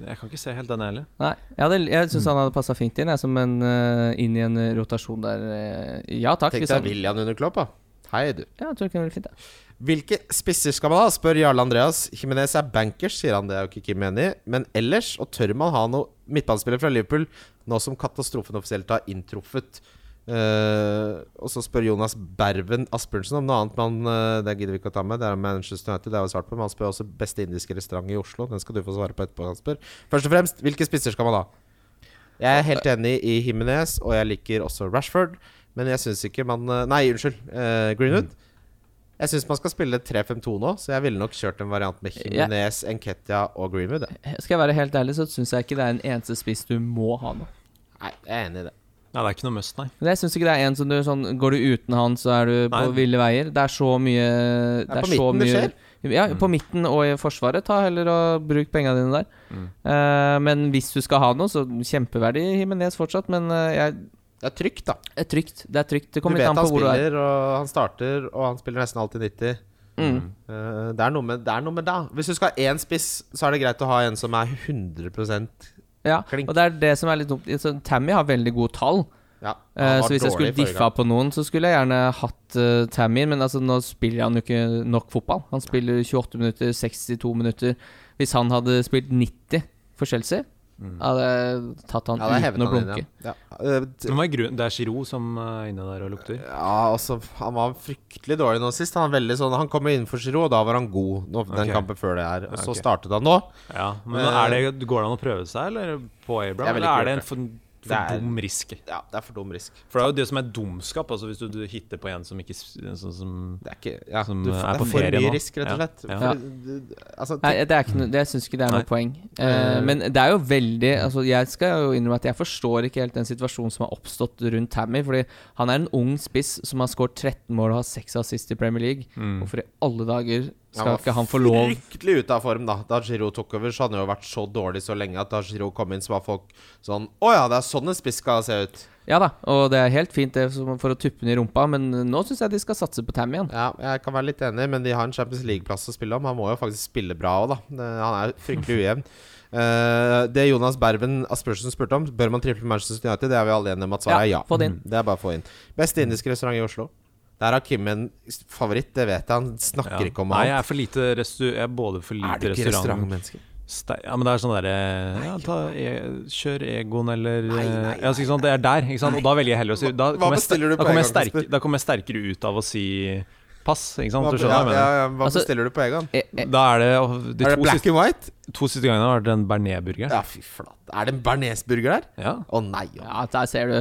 jeg kan ikke se helt den heller. Nei, jeg, hadde, jeg syns han hadde passa fint inn, jeg, som en eh, inn i en eh, rotasjon der. eh, ja takk. Tenk hvis han- deg William under Klopp, da. Hei, du. Ja, jeg tror det kunne vært fint, ja. Hvilke spisser skal man ha, spør Jarle Andreas. Jimenez er bankers, sier han. Det er jo ikke Kim enig i. Men ellers, og tør man ha noe midtbanespiller fra Liverpool nå som katastrofen offisielt har inntruffet? Eh, og så spør Jonas Berven Asbjørnsen om noe annet, men eh, det gidder vi ikke å ta med. Det er om Manchester United, det har vi svart på. Men han spør også beste indiske restaurant i Oslo. Den skal du få svare på etterpå. Kasper. Først og fremst, hvilke spisser skal man ha? Jeg er helt enig i Jimenez, og jeg liker også Rashford. Men jeg syns ikke man eh, Nei, unnskyld. eh, Greenwood. Jeg syns man skal spille 3-5-2 nå, så jeg ville nok kjørt en variant med Ja. Jimenez, Enketia og Greenwood. jeg. Skal jeg være helt ærlig, så syns jeg ikke det er en eneste spiss du må ha nå. Nei, jeg er enig i det. Nei, det er ikke noe must, nei. Men jeg syns ikke det er en som du sånn Går du uten han, så er du på Nei. ville veier. Det er så mye Det er, på så midten det Mm. mye, Ja, på midten og i Forsvaret. Ta heller og bruk penga dine der. Mm. Eh, men hvis du skal ha noe, så kjempeverdig Himinez fortsatt. Men eh, jeg, Det er trygt, da. det er trygt. Det er trygt. Det Du kommer litt vet an han på hvor du er. spiller, og han starter, og han spiller nesten alltid 90. Mm. Eh, det er noe med det. Er noe med da. Hvis du skal ha én spiss, så er det greit å ha en som er 100 Ja, Klink. og det er det som er litt dumt. Så Tammy har veldig gode tall. Ja, Eh, han var så hvis jeg dårlig skulle forrige diffa på noen, så skulle jeg gjerne hatt uh, Tammy. Men altså, nå spiller han jo ikke nok fotball. Han spiller 28 minutter, 62 minutter. Hvis han hadde spilt 90 for Chelsea, Mm. hadde jeg tatt han Ja, det er uten hevet å han blunke. inn, ja. Ja. Eh, t- Men hva er grunnen? Det er Giroud som er inne der og lukter. ja, altså, han var fryktelig dårlig nå sist. Han, er veldig sånn, han kom jo innenfor Giroud, og da var han god. Nå, Den Ok. kampen før det her. Og så ok. startet han nå. Ja, men er det, Går det an å prøve seg eller på Abraham, Eh, Jeg vil eller ikke er gjøre det en for, Det er- for dum risk? Ja, det er for dum risk. For det er jo det som er dumskap, altså hvis du, du hitter på en som ikke s- sånn som Det er ikke ja, Som, du, eh, får- er det på for ferie mye nå. risk, rett og Ja. slett. Ja. For, du- altså, Nei, det, er ikke noe, det syns ikke det er Nei. noe poeng. Eh, Eh. men det er jo veldig altså, Jeg skal jo innrømme at jeg forstår ikke helt den situasjonen som har oppstått rundt Tammy. Fordi han er en ung spiss som har skåret 13 mål og har 6 assist i Premier League. Mm. Hvorfor i alle dager skal var ikke han få lov Fryktelig ute av form, da. Da Giroud tok over, så hadde han jo vært så dårlig så lenge at da Giroud kom inn, så var folk sånn Å ja, det er sånn en spiss skal se ut. Ja da, og det er helt fint det som- for å tuppe den i rumpa, men nå syns jeg de skal satse på Tammy igjen. Ja, jeg kan være litt enig, men de har en Champions League-plass å spille om. Han må jo faktisk spille bra òg, da. Det- Han er jo fryktelig ujevn. Eh, det Jonas Berven Aspersen spurte om, bør man triple Manchester United? Det er vi alle enige om at svaret er ja. Ja, få det inn. Det er bare å få inn. Beste indiske restaurant i Oslo. Der har Kim en favoritt, det vet jeg. Han snakker ikke om Nei, jeg annet. er for lite restu... Jeg er både for Er lite det ikke restaurant restaurantmenneske? Ste ja, men det er sånn derre ja, ta e Kjør Egon eller eh, ja, så ikke sant, Det er der, ikke sant? Og da velger jeg heller å si Da Hva kommer jeg, ster- bestiller du på da kommer jeg, Egon, Kasper? sterk, da kommer jeg sterkere ut av å si pass, ikke sant? Hva, ja, Du skjønner hva ja, sånn, jeg mener? ja, hva Altså- bestiller du på Egan? Eh, eh, Da er det og De Er det to black siste, and white? to siste gangene har det vært en bearnésburger. Ja, fy flate. Er det en bearnésburger der? Ja. Å nei. å nei. Ja, der ser du.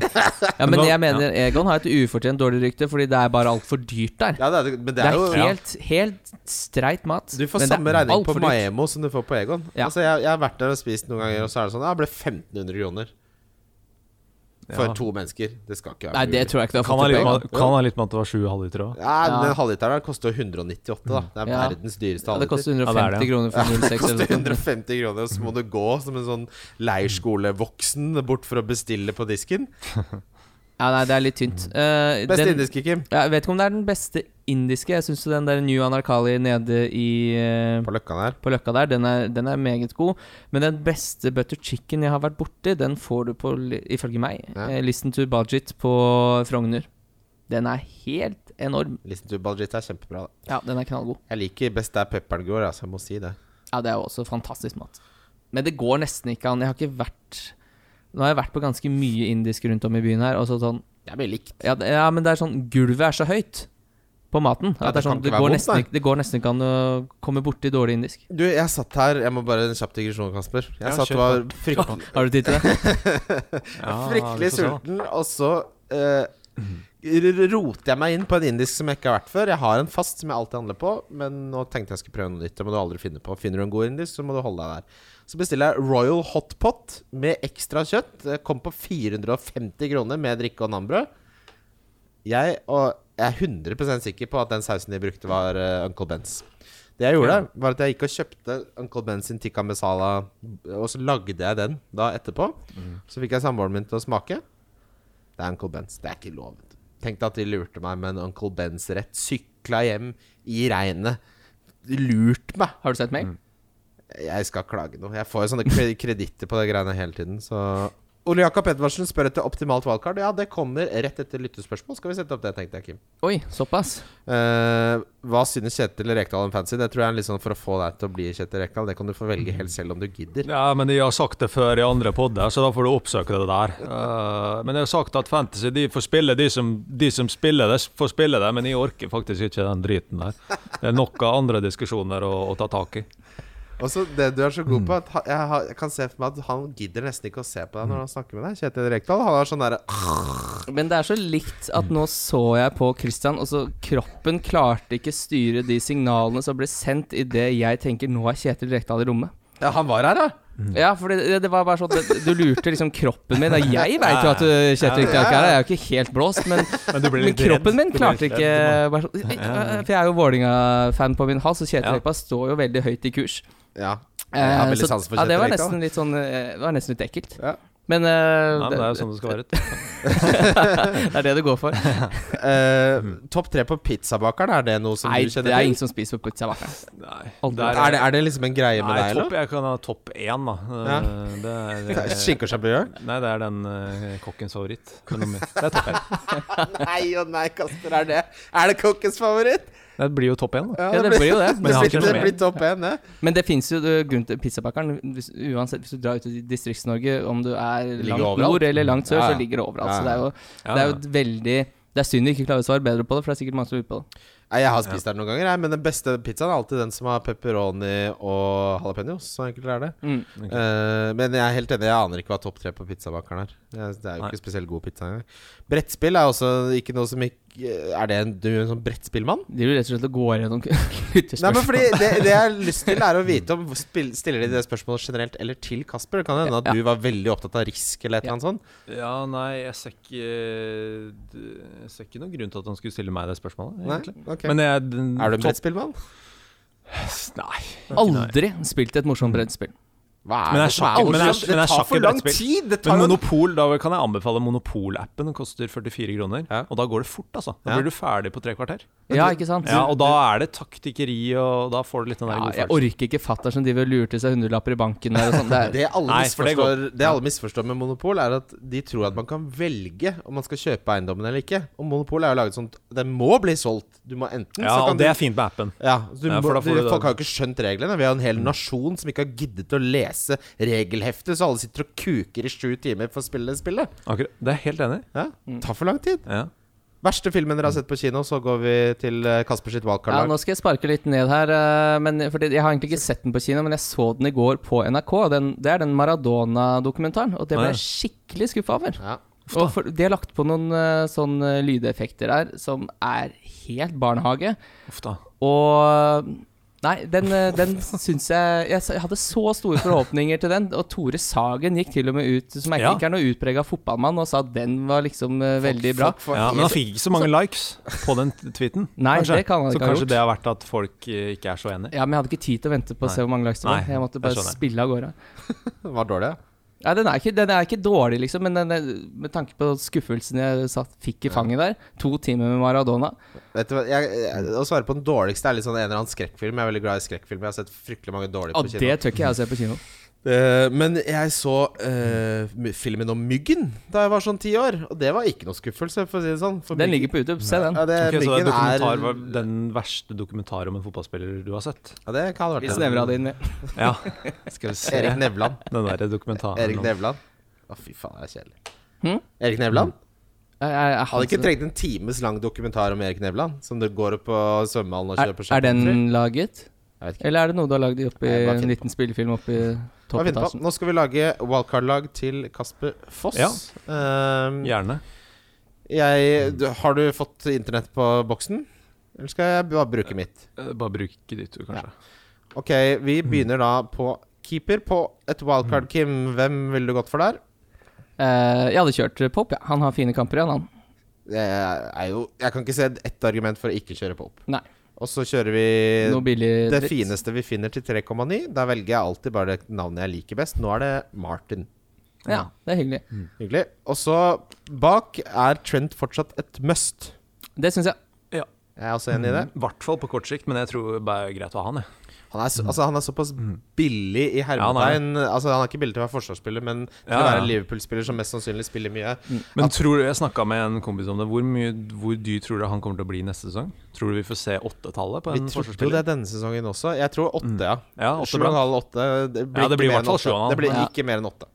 Ja, Men jeg mener Egon har et ufortjent dårlig rykte, fordi det er bare altfor dyrt der. Ja, det er, men det Det er er jo helt, helt streit mat. Du får men det samme er regning alt på for dyrt. Maemo som du får på Egon. Ja. Altså, jeg, jeg har vært der og spist noen ganger, og så er det sånn Ja, det ble 1500 kroner. For Ja. to mennesker. Det skal ikke være Nei, det mulig. tror jeg ikke du har Kan ha fått litt til på med, Egon. kan ha litt med at det var sju halvlitere òg. ja, Ja. Den halvliteren der koster jo 198, da. Det er Ja. verdens dyreste Ja, det halvliter. koster Ja, det er 150 det. kroner for 06 Det eller koster noe sånt. 150 kroner, og så må du gå som en sånn leirskolevoksen bort for å bestille på disken. Ja, nei, det er litt tynt. Eh, Beste den- indiske, Kim. Ja, jeg vet ikke om det er den beste indiske. Jeg syns den der New Anarkali nede i eh, På Løkkan her. på løkka der, den er, den er meget god. Men den beste butter chicken jeg har vært borti, den får du på, li- ifølge meg, Ja. eh, Listen to Budget på Frogner. Den er helt enorm. Listen to Baljit er kjempebra. Da. Ja, den er knallgod. Jeg liker best der pepperen går, altså. Jeg må si det. Ja, det er jo også fantastisk mat. Men det går nesten ikke an. Jeg har ikke vært Nå har jeg vært på ganske mye indisk rundt om i byen her, og så sånn Det er mye likt. Ja, det, ja men det er sånn Gulvet er så høyt på maten. Ja, At det, er det kan sånn, ikke det, være går vondt, nesten, nei. ikke- det går nesten ikke an å komme borti dårlig indisk. Du, jeg satt her Jeg må bare en kjapp digresjon, Kasper. Jeg Ja, satt og var kjør fryktelig, Har du tid til det? Ja, fryktelig vi får se, da. sulten, og så eh, r- roter jeg meg inn på en indisk som jeg ikke har vært før. Jeg har en fast som jeg alltid handler på, men nå tenkte jeg skulle prøve noe nytt. Det må du aldri finne på. Finner du en god indisk, så må du holde deg der. Så bestiller jeg Royal Hot Pot med ekstra kjøtt. Det kom på 450 kroner med drikke og nambrød. Jeg, og jeg er 100 sikker på at den sausen de brukte, var eh, Uncle Bens. Det jeg gjorde, var at jeg gikk og kjøpte Uncle Bens sin tikka masala, og så lagde jeg den da etterpå. Så fikk jeg samboeren min til å smake. Det er Uncle Bens. Det er ikke lov. vet du. Tenk deg at de lurte meg med en Uncle Bens-rett. Sykla hjem i regnet. Lurt meg. Har du sett meg? Mm. Jeg skal klage noe. Jeg får jo sånne kre- kreditter på de greiene hele tiden, så Ole Jakob Edvardsen spør etter optimalt valgkart. Ja, det kommer rett etter lyttespørsmål. Skal vi sette opp det, tenkte jeg, Kim. Oi, såpass. Eh, hva synes Kjetil Rekdal om fancy? Det tror jeg er litt sånn for å få deg til å bli Kjetil Rekdal. Det kan du få velge Mhm. helt selv om du gidder. Ja, men jeg har sagt det før i andre podder, så da får du oppsøke det der. Eh, men jeg har sagt at fantasy, de får spille, de som, de som spiller det, får spille det, men jeg orker faktisk ikke den driten der. Det er nok av andre diskusjoner å, å ta tak i. Og så det du er så Mm. god på at ha- jeg, har- jeg kan se for meg at han gidder nesten ikke å se på deg Mm. når han snakker med deg. Kjetil Rekdal han har sånn derre Men det er så likt at nå så jeg på Christian, og så kroppen klarte ikke styre de signalene som ble sendt idet jeg tenker 'nå er Kjetil Rekdal i rommet'. Ja, han var her, da! Ja, for det, det var bare sånn at Du lurte liksom kroppen min. Og jeg veit jo at du, Kjetil Rekdal ikke er her, jeg er jo ikke helt blåst, men, Men du blir men litt kroppen min redd. Du blir klarte litt ikke bare sånn, For jeg er jo Vålinga-fan på min hals, og Kjetil Ja. Rekdal står jo veldig høyt i kurs. Ja. Jeg har Eh, veldig så- sans for ja, det Kjetil var Rekdal. nesten litt sånn eh, Det var nesten litt ekkelt. Ja. Men, eh, Nei, men det er jo sånn det skal være. det er det det går for. Eh, Topp tre på pizzabakeren, er det noe som Nei, du det kjenner er til? ingen som spiser på pizza. hva? Nei, Aldri. der- Er det, er det liksom en greie med Nei, deg, topp, eller? jeg kan ha topp én, da. Ja. Eh, Det er, Skinke og champignon? nei, det er den eh, kokkens favoritt. Men om- Det, er topp én. Nei og nei, Kasper, er det Er det kokkens favoritt? det blir jo topp én, da. Ja, det blir jo det. Men jeg har det, ikke blir, det noe mer. blir topp én, det. Men det fins jo øh, grunn til pizzabakeren. Hvis, uansett, hvis du drar ut i Distrikts-Norge, om du er ligger langt overalt. nord eller langt sør, Ja, ja. så ligger det overalt. Så Ja, det ja. er jo, Ja, det er jo ja. et veldig det er synd vi ikke klarer å svare bedre på det, for det er sikkert mange som lurer på det. Nei, Jeg har spist der noen ganger, jeg, men den beste pizzaen er alltid den som har pepperoni og jalapeños. Så enkelt er det. Mm. Eh, men jeg er helt enig, jeg aner ikke hva topp tre på pizzabakeren er. Jeg- Det er jo Nei. ikke spesielt god pizza engang. Brettspill er også ikke noe som ikke Er det en, du er en sånn brettspillmann? De vil rett og slett å gå gjennom Nei, men lyttespørsmål. fordi det, det jeg har lyst til, er å vite om spill, Stiller de det spørsmålet generelt eller til Kasper? Det kan hende at Ja. du var veldig opptatt av risk eller et eller annet sånt. Ja, nei, jeg ser ikke eh, Jeg ser ikke noen grunn til at han skulle stille meg det spørsmålet, Nei? egentlig. Ok. Men jeg, den, er du en topp- brettspillmann? Nei. Aldri spilt et morsomt brettspill. Hva er Men det jeg som er sjakk- men jeg- morsomt? Det men jeg tar sjakk for er lang brettspill. tid! Det tar Men jo Monopol, da kan jeg anbefale Monopol-appen. Den koster 44 kroner. Ja. Og da går det fort, altså. Da Ja. blir du ferdig på tre kvarter. Ja, ikke sant? Ja, Og da er det taktikkeri, og da får du litt den der Ja, gode jeg følelsen. orker ikke fatter som driver og lurer til seg hundrelapper i banken der og sånn. Det er- Det alle, Nei, for det går- misforstår, det, alle misforstår med Monopol, er at de tror at man kan velge om man skal kjøpe eiendommen eller ikke. Og Monopol er jo laget sånn at den må bli solgt. Du må enten Ja, så kan og det du- er fint med appen. ja, så du Ja, for må, da får du, du Mm. da- Folk har jo ikke skjønt reglene. Vi har en hel nasjon som ikke har giddet å lese regelheftet, så alle sitter og kuker i sju timer for å spille det spillet. Akkurat. Det er jeg helt enig. i. Ja, Tar for lang tid. Ja. Verste filmen dere har sett på kino, så går vi til eh, Kasper sitt Ja, valgkartlag. nå skal jeg sparke litt ned her. eh, Men, fordi jeg har egentlig ikke sett den på kino, men jeg så den i går på NRK. Den, det er den Maradona-dokumentaren, og det Ah, ble ja. jeg skikkelig skuffa over. Ja. Og for, de har lagt på noen eh, sånne lydeffekter der som er helt barnehage. Uff da. Og Nei, den, eh, den syns jeg Jeg s- jeg hadde så store forhåpninger til den. Og Tore Sagen gikk til og med ut, som egentlig Ja. ikke er noe utprega fotballmann, og sa at den var liksom eh, veldig bra. Folk får Ja, men helt- han fikk ikke så mange likes på den t- tweeten. Nei, kanskje. det kan han så ikke ha kanskje gjort. det har vært at folk eh, ikke er så enig. Ja, Men jeg hadde ikke tid til å vente på å Nei. se hvor mange likes det Nei, var. Jeg måtte jeg bare skjønner. spille av gårde. var dårlig. ja. Nei, den er ikke, den er ikke dårlig, liksom, men den er, med tanke på skuffelsen jeg satt, fikk i fanget der, to timer med Maradona Vet du hva, jeg, jeg, Å svare på den dårligste er litt sånn en eller annen skrekkfilm. Jeg er veldig glad i skrekkfilm. Jeg har sett fryktelig mange dårlige Og på det kino. tør ikke jeg å se på kino. Eh, men jeg så eh, my- filmen om Myggen da jeg var sånn ti år, og det var ikke noe skuffelse, for å si det sånn. For Den ligger på YouTube, se den. Ja, det, Ok, så det Eh, myggen er dokumentar var den verste dokumentar om en fotballspiller du har sett? Ja, det kan ha Vi vært snevra det inn med. Ja. Skal vi se Erik Nevland. den der dokumentaren. Erik om- Nevland. Å, fy faen, det er kjedelig. Hm? Erik Mm. Nevland? Er, er, er, Hadde ikke han- trengt en times lang dokumentar om Erik Nevland, som du går opp på svømmehallen og er, kjøper er den laget? Jeg vet ikke. Eller er det noe du har lagd i oppi Nei, bare en finn liten spillefilm oppi Hva finner vi på? toppetasjen? Nå skal vi lage wildcard-lag til Kasper Foss. Ja. Ehm, Gjerne. Jeg, du, har du fått internett på boksen? Eller skal jeg bare bruke mitt? Eh, Bare bruk ditt ord, kanskje. Ok, vi begynner da på keeper på et wildcard, Kim. Hvem ville du gått for der? Eh, jeg hadde kjørt Pop, ja. Han har fine kamper igjen, han. Det er jo Jeg kan ikke se ett argument for å ikke kjøre på opp. Nei. Og så kjører vi Noe billig det dritt. fineste vi finner til 3,9. Da velger jeg alltid bare det navnet jeg liker best. Nå er det Martin. Ja, det er hyggelig. Hyggelig. Og så bak er Trent fortsatt et must. Det syns jeg. Jeg er også enig i det. I hvert fall på kort sikt, men jeg tror bare greit å ha han, jeg. Han er, så, altså, han er såpass billig i han er det. hermetegn. altså, han er ikke billig til å være forsvarsspiller, men til Ja, å ja. være Liverpool-spiller som mest sannsynlig spiller mye. Men tror du, jeg snakka med en kompis om det. Hvor, mye, hvor dyr tror du han kommer til å bli neste sesong? Tror du vi får se åttetallet på Vi en trodde jo det forsvarsspiller? denne sesongen også. Jeg tror åtte, ja. Ja, åtte Sju og blank. en halv, åtte. Det blir, Ja, det ikke blir i mer hvert fall enn åtte. sju og en halv. Det blir Ja. ikke mer enn åtte.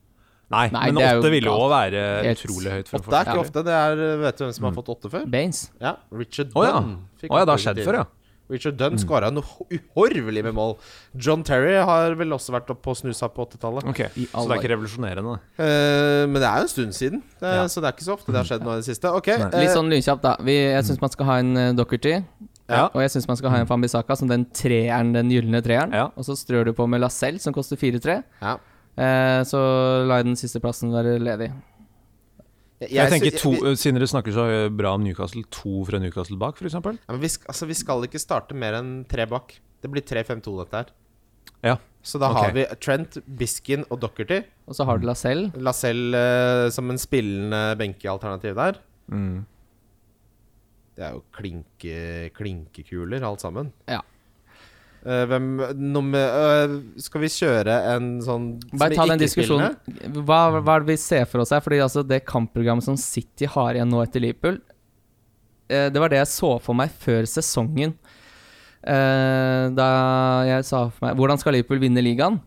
Nei, Nei, men det er jo åtte ville galt. òg være Helt- utrolig høyt. for en Åtte er ikke forsvarsspiller. ofte. Det er, vet du hvem som har fått åtte før? Baines. Ja, Richard Å ja. Dunn. fikk Å ja, det åtte har skjedd tidligere. før, ja. Richard Dunn skåra noe uhorvelig med mål. John Terry har vel også vært oppe og snusa på 80-tallet. Ok, I Så all det er ikke revolusjonerende. det. Eh, men det er jo en stund siden, det, Ja. så det er ikke så ofte det har skjedd nå i det siste. Ok, Nei. eh, Litt sånn lynkjapt, da. Vi, jeg syns man skal ha en eh, Doherty. Ja. Og jeg syns man skal ha en Fambisaka som den treeren, den gylne treeren. Ja. Og så strør du på med Lacelle, som koster 4-3. ja. Eh, så la jeg den siste plassen være ledig. Jeg, Jeg tenker sy- to, vi, Siden dere snakker så bra om Newcastle, to fra Newcastle bak, f.eks. ja, men vi, sk- altså, vi skal ikke starte mer enn tre bak. Det blir 3-5-2, dette her. Ja. Så da Ok. har vi Trent, Biskin og Docherty. Og så har Mm. du Lacelle. Lacelle eh, som en spillende benkealternativ der. Mm. Det er jo klinke, klinkekuler, alt sammen. Ja. Eh, hvem nummer, eh, Skal vi kjøre en sånn som Bare ta er den diskusjonen. ikke-spillende? Hva, hva er det vi ser for oss her? Fordi altså Det kampprogrammet som City har igjen nå etter Liverpool, eh, det var det jeg så for meg før sesongen. Eh, Da jeg sa for meg Hvordan skal Liverpool vinne ligaen?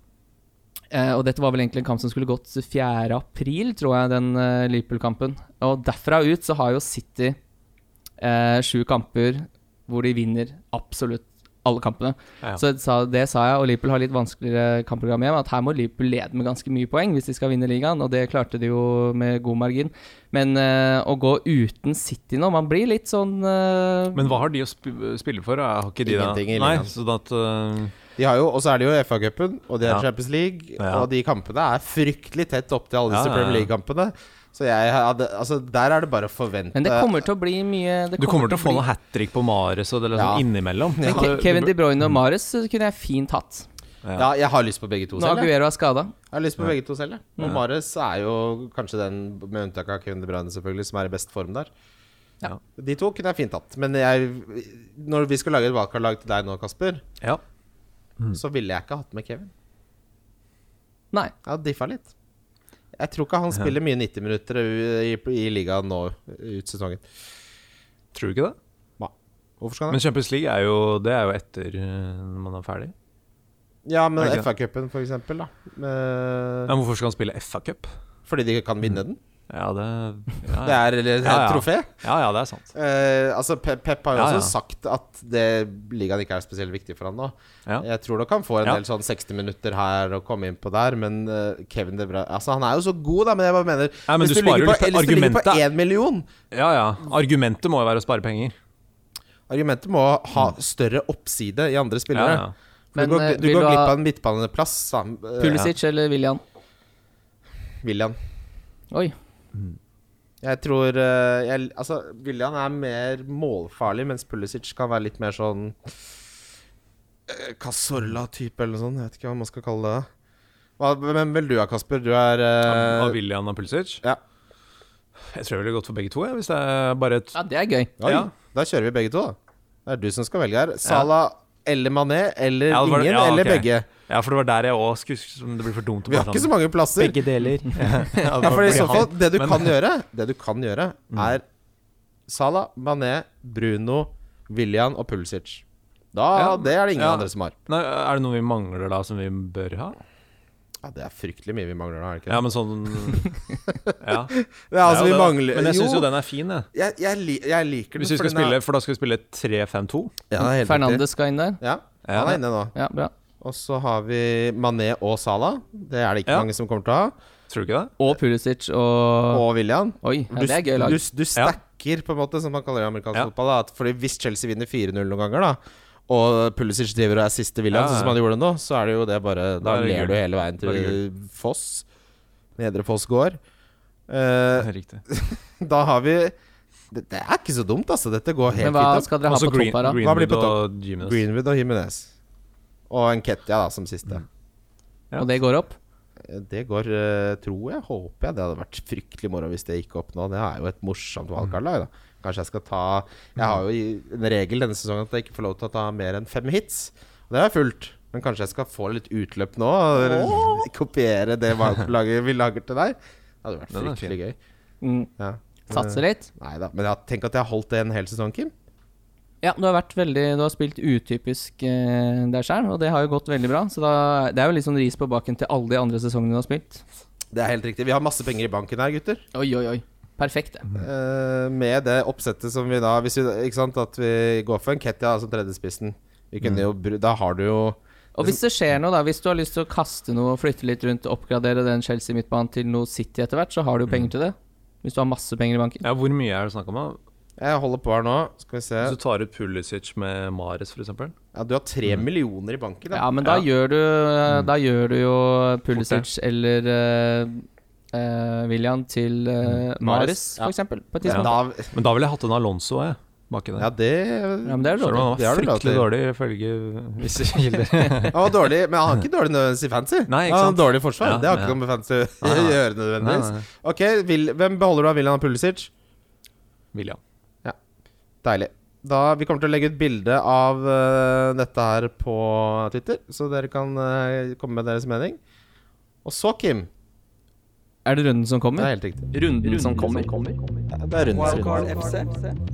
Eh, Og dette var vel egentlig en kamp som skulle gått 4. april, tror jeg, den eh, Liverpool-kampen. Og derfra ut så har jo City eh, sju kamper hvor de vinner absolutt alle kampene. Ja, ja. Så det sa, det sa jeg, og Liverpool har litt vanskeligere kampprogram hjem. At her må Liverpool lede med ganske mye poeng hvis de skal vinne ligaen, og det klarte de jo med god margin. Men eh, å gå uten City nå, man blir litt sånn eh, Men hva har de å sp spille for? da? Har ikke de da- Ingenting i Nei, ligaen. sånn at øh, De har jo, Og så er det jo FA-cupen, og de er Ja. Champions League. Ja. Og de kampene er fryktelig tett opp til alle Ja, disse ja, ja. Premier League-kampene. Så jeg hadde, altså der er det bare å forvente Men det kommer til å bli mye det Du kommer til å få bli- noe hat trick på Mares og det er Ja. sånn innimellom. Men Ja. Ke- Kevin De Bruyne og Mares kunne jeg fint hatt. Ja. Ja, jeg har lyst på begge to Når selv. Jeg, Aguero er skada. jeg har lyst på begge to selv jeg. Og Mares er jo kanskje den, med unntak av Kevin De Bruyne, selvfølgelig, som er i best form der. Ja. De to kunne jeg fint tatt. Men jeg, når vi skal lage et valgkartlag til deg nå, Kasper, Ja. Mm. så ville jeg ikke hatt med Kevin. Nei. Jeg hadde diffa litt. Jeg tror ikke han spiller mye 90-minutter i, i, i ligaen nå ut sesongen. Tror du ikke det? Hvorfor skal han det? Men Champions League er jo, det er jo etter øh, man er ferdig. Ja, men Er det ikke FA-cupen, for eksempel. Da. Eh, Men hvorfor skal han spille FA-cup? Fordi de kan vinne den. Ja, det ja, Det ja. er eller, Ja, ja. et trofé. ja, ja, det er sant. Eh, altså Pep, Pep har jo Ja, også ja. sagt at det, ligaen ikke er spesielt viktig for han nå. Ja. Jeg tror nok han får en Ja. del sånn 60 minutter her og komme inn på der, men eh, Kevin De Bruyne Altså, han er jo så god, da, men jeg bare mener Nei, men Hvis du du, ligger sparer på, litt hvis du ligger på argumentet. én million Ja, ja. Argumentet må jo være å spare penger. Argumentet må ha større oppside i andre Mm. Ja, spillere. ja. For Men, du går, eh, du vil går du ha- glipp av en midtbaneplass, sa eh, Pulisic eller William. William. Oi. Jeg tror eh, jeg, Altså, William er mer målfarlig, mens Pulisic kan være litt mer sånn eh, Casorla-type, eller noe sånt. Jeg vet ikke hva man skal kalle det. Hva, hvem vil du ha, Kasper? Du er eh, Av William og Pulisic? ja. Jeg tror jeg ville gått for begge to, jeg, hvis det er bare et Ja, det er gøy. Oi, ja. Da kjører vi begge to, da. Det er du som skal velge her. Salah eller Mané eller Ja, det var ingen det- ja, eller ok. begge. Ja, for det var der jeg òg skulle Det blir for dumt å Vi har ikke så mange plasser. deler. ja, Ja, for i så fall, det du Men- Mm. kan gjøre, Det du kan gjøre, er Salah, Mané, Bruno, William og Pulisic. Da, Ja, Det er det ingen ja. andre som har. Nei, er det noe vi mangler da, som vi bør ha? Ja, Det er fryktelig mye vi mangler nå, er det ikke Ja, men sånn Ja. det? Ja, altså, Det er jo vi det. mangler Men jeg syns jo den er fin, jeg. jeg, jeg, li, jeg liker den. Hvis vi for skal den er- spille, for da skal vi spille 3-5-2. ja, det er helt Fernandes skal inn der. riktig. Ja, Ja. han er inne nå. Ja, bra. Og så har vi Mané og Salah. Det er det ikke Ja. mange som kommer til å ha. Tror du ikke det? Og Pulisic og Og William. Oi, ja, det er gøy du, lag. du stacker, på en måte, som man kaller det i amerikansk Ja. fotball. Da. at Fordi Hvis Chelsea vinner 4-0 noen ganger, da og Pulisic driver og er siste William, Ja, ja. sånn som han gjorde nå, så er det jo det bare Da Da er det ler gull. du hele veien Da er det til Foss. Nedre Foss gård. Eh, Riktig. da har vi det, det er ikke så dumt, altså. Dette går helt Men hva fint. skal dere ha Også på Green- topp her, da? Hva blir Greenwood på topp? og da. Jimenez. Greenwood og Jimenez. Og Enketia, da, som siste. Ja. Og det går opp? Mm. Eh, Det går, eh, tror jeg, håper jeg. Det hadde vært fryktelig moro hvis det gikk opp nå. Det er jo et morsomt Mm. valgkartlag, da. Kanskje jeg skal ta Jeg har jo i- en regel denne sesongen at jeg ikke får lov til å ta mer enn fem hits. Og det har jeg fulgt. Men kanskje jeg skal få litt utløp nå? Og kopiere det valgkartlaget vi lager til deg? Det hadde vært Den er fryktelig gøy. Mm. Ja. Satser litt? Nei da. Men ja, tenk at jeg har holdt det en hel sesong, Kim. Ja, du har vært veldig Du har spilt utypisk eh, der sjøl, og det har jo gått veldig bra. Så da, det er jo litt sånn ris på baken til alle de andre sesongene du har spilt. Det er helt riktig. Vi har masse penger i banken her, gutter. Oi, oi, oi. Perfekt, det. Eh, med det oppsettet som vi da hvis vi, Ikke sant, at vi går for en Ketja som tredjespissen. Vi kunne jo, bru- da har du jo Og hvis det skjer noe, da. Hvis du har lyst til å kaste noe, flytte litt rundt, oppgradere den Chelsea-midtbanen til noe City etter hvert, så har du jo penger til det. Hvis du har masse penger i banken. Ja, hvor mye er det snakk om? da? Jeg holder på her nå. Skal vi se. Hvis du tar ut Pulisic med Mares, f.eks. Ja, du har tre millioner i banken. Da. Ja, men da Mm. Ja. gjør du eh, Da gjør du jo Pulisic Fort eller eh, eh, William til eh, Mares, Mahrez, ja. for eksempel. På et Ja. tidspunkt. Da, Men da ville jeg hatt en Alonso jeg, baki der. ja, det Ja, men det er jo Selv om dårlig. han Det er var det lov fryktelig til. dårlig, ifølge visse kilder. Han var dårlig, men han er ikke dårlig nødvendigvis i fancy. Nei, ikke han sant? har dårlig forsvar. Ja, det har ikke ja. noe med fancy å Nei, nei. gjøre nødvendigvis. Ok, vil, Hvem beholder du av William og Pulisic? William. Deilig. Da, vi kommer til å legge ut bilde av eh, dette her på Twitter, så dere kan eh, komme med deres mening. Og så, Kim. Er det runden som Det kommer? er helt riktig. Runden, som kommer. Det er runden, Wildcard FC.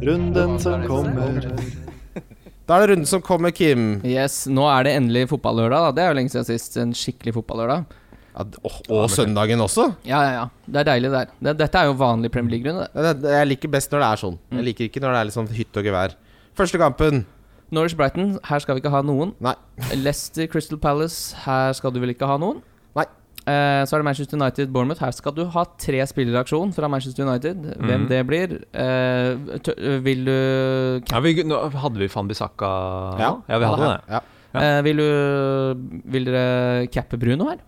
Runden som kommer. Da er det runden som kommer, Kim. Yes, nå er det endelig fotballørdag. da. Det er jo lenge siden sist. En skikkelig fotballørdag. Ja, d- og, og søndagen også. Ja, ja, ja. Det er deilig, det der. Det- Dette er jo vanlig Premier League-runde. det. Ja, det- det- Jeg liker best når det er sånn. Jeg liker ikke når det er litt sånn hytt og gevær. Første kampen. Norwich Brighton, her skal vi ikke ha noen. Nei. Leicester Crystal Palace, her skal du vel ikke ha noen? Nei. Eh, så er det Manchester United Bournemouth. Her skal du ha tre spillere i aksjon fra Manchester United. Hvem Mhm. det blir eh, tø- Vil du Ja, vi, nå hadde vi Van Bissaka Ja. nå? ja, vi hadde det. Ja. Ja. eh, Vil du Vil dere cappe Bruno her?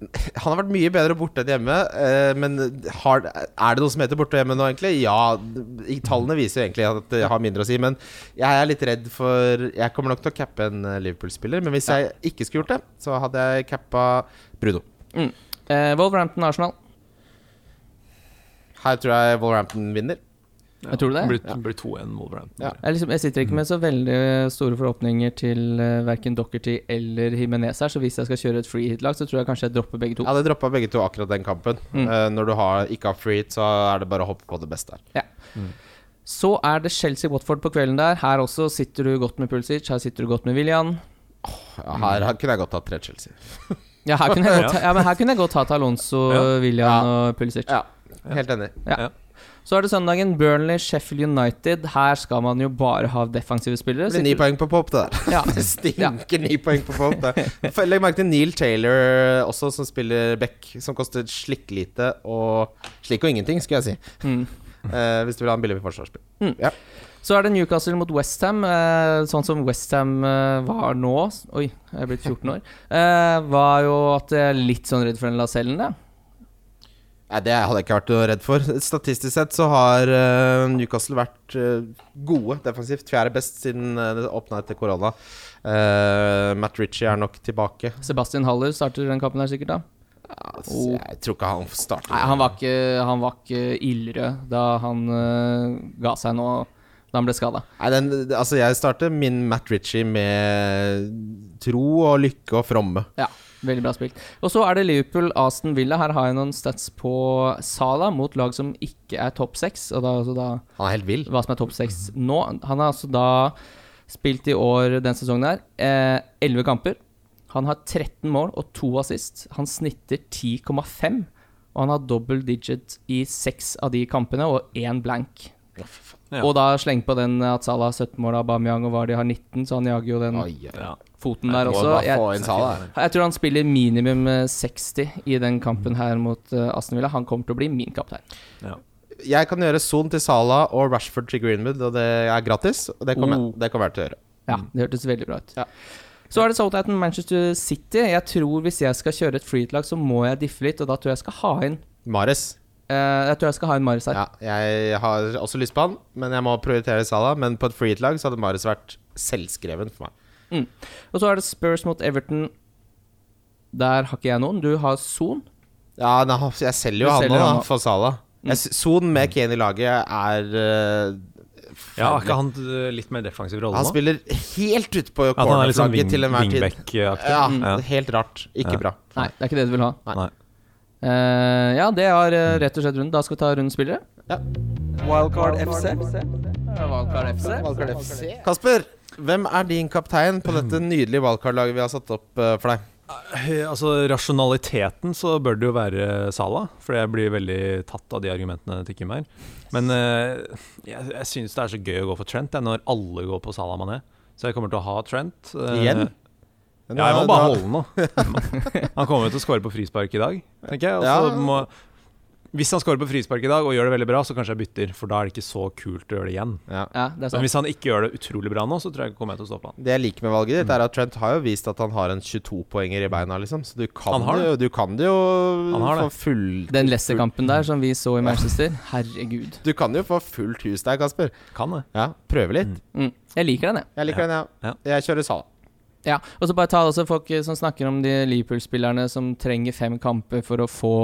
Han har vært mye bedre borte enn hjemme, eh, men har, er det noe som heter borte og hjemme nå, egentlig? Ja, d- tallene viser jo egentlig at det har mindre å si, men jeg er litt redd for Jeg kommer nok til å cappe en eh, Liverpool-spiller, men hvis jeg ikke skulle gjort det, så hadde jeg cappa Bruno. Eh, Wolverhampton Arsenal. Her tror jeg Wolverhampton vinner. Jeg tror det. Det blir, blir 2-1 Wolverhampton. Ja. Jeg, liksom, jeg sitter Mhm. ikke med så veldig store forhåpninger til uh, verken Dockerty eller Himenez her, så hvis jeg skal kjøre et free hit-lag, så tror jeg kanskje jeg dropper begge to. Ja, det droppa begge to akkurat den kampen. Mm. Eh, når du har, ikke har free hit, så er det bare å hoppe på det beste her. Så er det Chelsea-Watford på kvelden der. Her også sitter du godt med Pulsic, her sitter du godt med William. Ja, her Mm. har- kunne jeg godt hatt tre Chelsea. Ja, her kunne jeg godt, ja, men her kunne jeg godt hatt Alonso, Ja. William Ja. og Pulisic. Ja. Helt enig. Så er det søndagen. Burnley, Sheffield United. Her skal man jo bare ha defensive spillere. Det blir ni poeng på pop, det der. Ja. Det stinker ni poeng på pop. Det. For- Legg merke til Neil Taylor eh, også, som spiller back, som koster slikk lite og slikk og ingenting, skulle jeg si. Mm. Eh, hvis du vil ha en billig forsvarsspill. Så er det Newcastle mot Westham, eh, sånn som Westham eh, var nå Oi, jeg er blitt 14 år. Eh, var jo at jeg er litt sånn redd for den lasellen, da. Nei, det hadde jeg ikke vært noe redd for. Statistisk sett så har eh, Newcastle vært eh, gode defensivt. Fjerde best siden eh, det åpna etter korona. Eh, Matt Ritchie er nok tilbake. Sebastian Haller starter den kampen her sikkert, da. Ja, så Jeg tror ikke han starter. Oh. Nei, han var ikke, han var ikke ildrød da han eh, ga seg nå, da han ble skada. Nei, den, altså jeg starter min Matt Ritchie med tro og lykke og fromme. Ja, veldig bra spilt. Og så er det Liverpool-Aston Villa. Her har jeg noen stats på Sala mot lag som ikke er topp seks. Og da, altså da, Han er helt vill. hva som er topp seks nå. Han har altså da spilt i år den sesongen her Eh, elleve kamper. Han har 13 mål og to assist. Han snitter 10,5. Og han har double digit i seks av de kampene, og én blank. Ja. Og da sleng på den at Salah har 17 mål, Aubameyang og Vardy har 19, så han jager jo den Ai, ai. Ja. foten der Må også. bare få Jeg, inn sånn. Salah, da. jeg tror han spiller minimum eh, 60 i den kampen her mot eh, Aston Villa. Han kommer til å bli min kaptein. Jeg kan gjøre Son til Salah og Rashford til Greenwood, og det er gratis. Og det kommer, Oh. jeg, det kommer jeg til å gjøre. Ja, det hørtes veldig bra ut. Ja. Så er det Southampton Manchester City. Jeg tror Hvis jeg skal kjøre et freeheat-lag, så må jeg diffe litt, og da tror jeg jeg skal ha inn Mares. eh, Jeg tror jeg skal ha inn Marius her. Ja, jeg har også lyst på han, men jeg må prioritere Salah. Men på et freehit-lag så hadde Mares vært selvskreven for meg. Og så er det Spurs mot Everton. Der har ikke jeg noen. Du har Son. Ja, nei, han- jeg selger jo Du han selger nå, han da, nå. for Salah. Jeg s- Son med Kane i laget er eh, forferdelig. Ja, er ikke han eh, litt mer defensiv rolle Han nå? spiller helt ute på At han er litt sånn cornerflagget wing, til enhver tid. wingback-aktig? Ja, Ja. helt rart. Ikke Ja. bra. Nei, det er ikke det du vil ha. Nei. Nei. Eh, ja, det er eh, rett og slett runden. Da skal vi ta rundens spillere. Wildcard FC. Valkar FC. Kasper, hvem er din kaptein på dette Hmm. nydelige wildcard-laget vi har satt opp eh, for deg? Eh, Altså, rasjonaliteten så bør det jo være Sala, for jeg blir veldig tatt av de argumentene til Kim her. Men eh, jeg, jeg syns det er så gøy å gå for Trent jeg, når alle går på Sala Mané. Så jeg kommer til å ha Trent. eh, Igjen? Ja, jeg må bare Nå- holde den nå. Han kommer jo til å skåre på frispark i dag, tenker jeg. Og Ja. så må, hvis han skårer på frispark i dag og gjør det veldig bra, så kanskje jeg bytter, for da er det ikke så kult å gjøre det igjen. Ja. Ja, det er sant. Men Altså, hvis han ikke gjør det utrolig bra nå, så tror jeg kommer jeg til å stoppe han. Det jeg liker med valget Hmm. ditt, er at Trent har jo vist at han har en 22-poenger i beina, liksom. Så du kan Han har det jo, du kan det jo Han har få det. full Den Leicester-kampen der som vi så i Manchester, herregud. Du kan jo få fullt hus der, Kasper. Kan det. Ja, prøve litt. Mm. Hmm. Jeg liker den, jeg. Jeg liker den, ja. Jeg kjører Sala. Ja, og så bare ta også folk eh, som snakker om de Liverpool-spillerne som trenger fem kamper for å få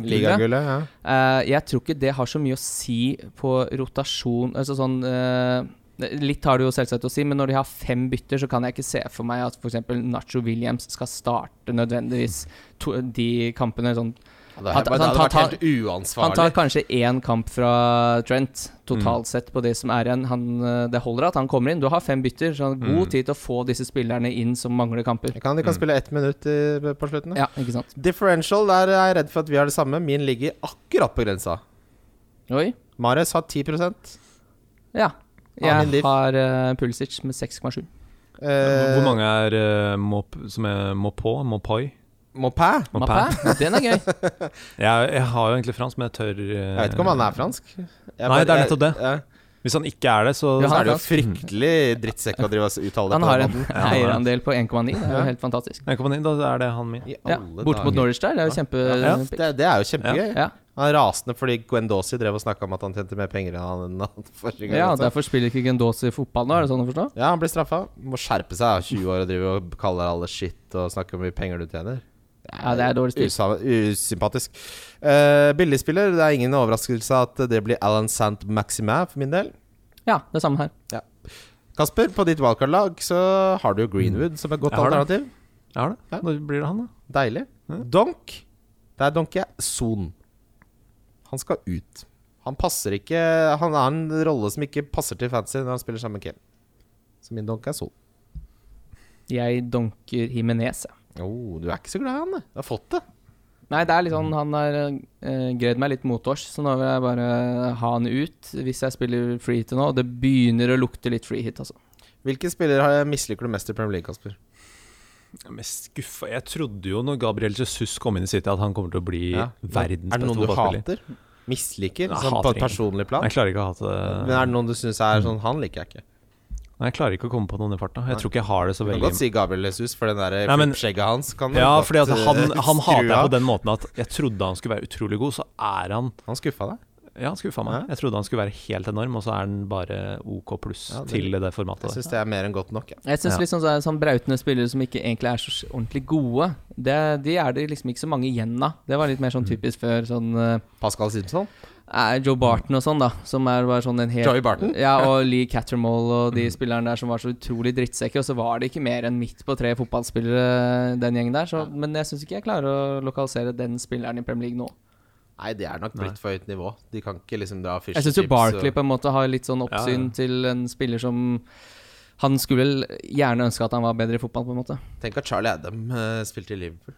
gullet. Ligagullet, ja. Eh, jeg tror ikke det har så mye å si på rotasjon Altså sånn eh, Litt har det jo selvsagt å si, men når de har fem bytter, så kan jeg ikke se for meg at f.eks. Nacho Williams skal starte nødvendigvis to, de kampene. Sånn. Ja, Han- Det han hadde, det hadde vært tar- helt Han tar uansvarlig. kanskje én kamp fra Trent totalt sett på det som er igjen. Han, eh, det holder at han kommer inn. Du har fem bytter, så han har god tid til å få disse spillerne inn som mangler kamper. Jeg kan, Hmm. de kan spille ett minutt i, på slutten. da. Ja, ikke sant. Differential, der er jeg redd for at vi har det samme. Min ligger akkurat på grensa. Oi. Mares har 10 eh, Ja. Ja, min Jeg liv. har eh, Pulisic med 6,7. Hvor hvor mange er eh, må, som er må på? Må poi? Mopé? Må pæ? Mappé, den er gøy. Jeg, jeg har jo egentlig fransk, men jeg tør Jeg vet ikke om han Eh. er fransk. Jeg Nei, det er nettopp det. Jeg, Hvis han ikke er det, så Ja, så han er det er Mm. jo fryktelig drittsekk å drive og uttale det Han på har den en måten. eierandel på 1,9. Det er jo helt fantastisk. Jeg kommer inn, Da er det han min. I Ja, alle Borte mot dager. Norwich der, det er jo kjempe... Ja. Det, det er jo kjempegøy. Ja. Han er rasende fordi Gwendosi drev og snakka om at han tjente mer penger enn han- enn han forrige gang. ja, også. derfor spiller ikke Gendosi fotball nå, er det sånn å forstå? ja, han blir straffa. Må skjerpe seg. er 20 år og driver og kaller alle shit og snakker om hvor mye penger du tjener. Ja, det er dårlig stil. Usa- usympatisk. Eh, billigspiller, det er ingen overraskelse at det blir Alan Sant Maximin for min del. Ja, det er samme her. Kasper, på ditt wildcard-lag så har du jo Greenwood som et godt Jeg har det. alternativ. Jeg har det. Ja. Da blir det han, da. Deilig. Donk. Der donker jeg Son. Han skal ut. Han passer ikke Han er en rolle som ikke passer til fancy når han spiller sammen med Kane. Så min donk er Son. Jeg donker Himinez. jeg. Oh, du er ikke så glad i han, du. Du har fått det. Nei, det er litt sånn han har eh, greid meg litt motårs, så nå vil jeg bare ha han ut hvis jeg spiller free hit nå. Og det begynner å lukte litt free hit, altså. Hvilken spiller har jeg misliker du mest i Premier League, Kasper? Jeg er mest skuffa Jeg trodde jo når Gabriel Jesus kom inn i City, at han kommer til å bli Ja. verdens Er det beste noen du fotballspiller. hater? Misliker? Jeg Sånn hater på et ingen. personlig plan? Jeg klarer ikke å hate Men er det noen du syns er sånn Han liker jeg ikke. Nei, jeg klarer ikke å komme på noen i farta. Jeg tror ikke jeg har det Du så kan veldig godt si Gabriel Jesus, for den der Nei, men- skjegget hans kan Ja, godt, fordi at han, eh, han skru hater jeg av. på den måten at jeg trodde han skulle være utrolig god, så er han Han skuffa deg? Ja, han skuffa Ja. meg. Jeg trodde han skulle være helt enorm, og så er han bare OK pluss Ja, det- til det formatet Jeg der. syns det er mer enn godt nok. Jeg. Jeg syns Ja. liksom sånn, sånn brautende spillere som ikke egentlig er så s- ordentlig gode, det, de er det liksom ikke så mange igjen av. Det var litt mer sånn typisk før sånn eh, Pascal Simpson? er Joe Barton og sånn, da. Som er bare sånn en helt Joey Barton? Ja, og Lee Cattermall og de spillerne der som var så utrolig drittsekker. Og så var det ikke mer enn midt på tre fotballspillere, eh, den gjengen der. Så, men jeg syns ikke jeg klarer å lokalisere den spilleren i Premier League nå. Nei, det er nok litt for høyt nivå. De kan ikke liksom dra fish Jeg syns jo Barkley på en måte har litt sånn oppsyn Ja, ja. til en spiller som han skulle gjerne ønske at han var bedre i fotball, på en måte. Tenk at Charlie Adam eh, spilte i Liverpool.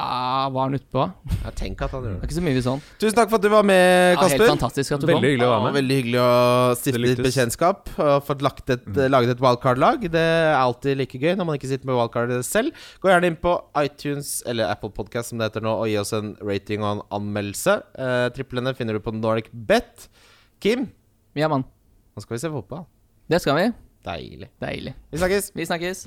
Ah, var han utpå? Det Ja, tenk at han gjorde er det. ikke så mye vi så han. Tusen takk for at du var med, Ja, helt Eh, Kasper. fantastisk at du Veldig kom. hyggelig å være Ja, med. veldig hyggelig å stifte Det litt lyktes. Mm. bekjentskap og fått lagt et, eh, laget et wildcard-lag. Det er alltid like gøy når man ikke sitter med wildcard selv. Gå gjerne inn på iTunes eller Apple Podcast som det heter nå, og gi oss en rating og en anmeldelse. Eh, triplene finner du på Nordic Bet. Kim, Ja, mann. nå skal vi se fotball. Det skal vi. Deilig. Deilig. Vi snakkes. Vi snakkes.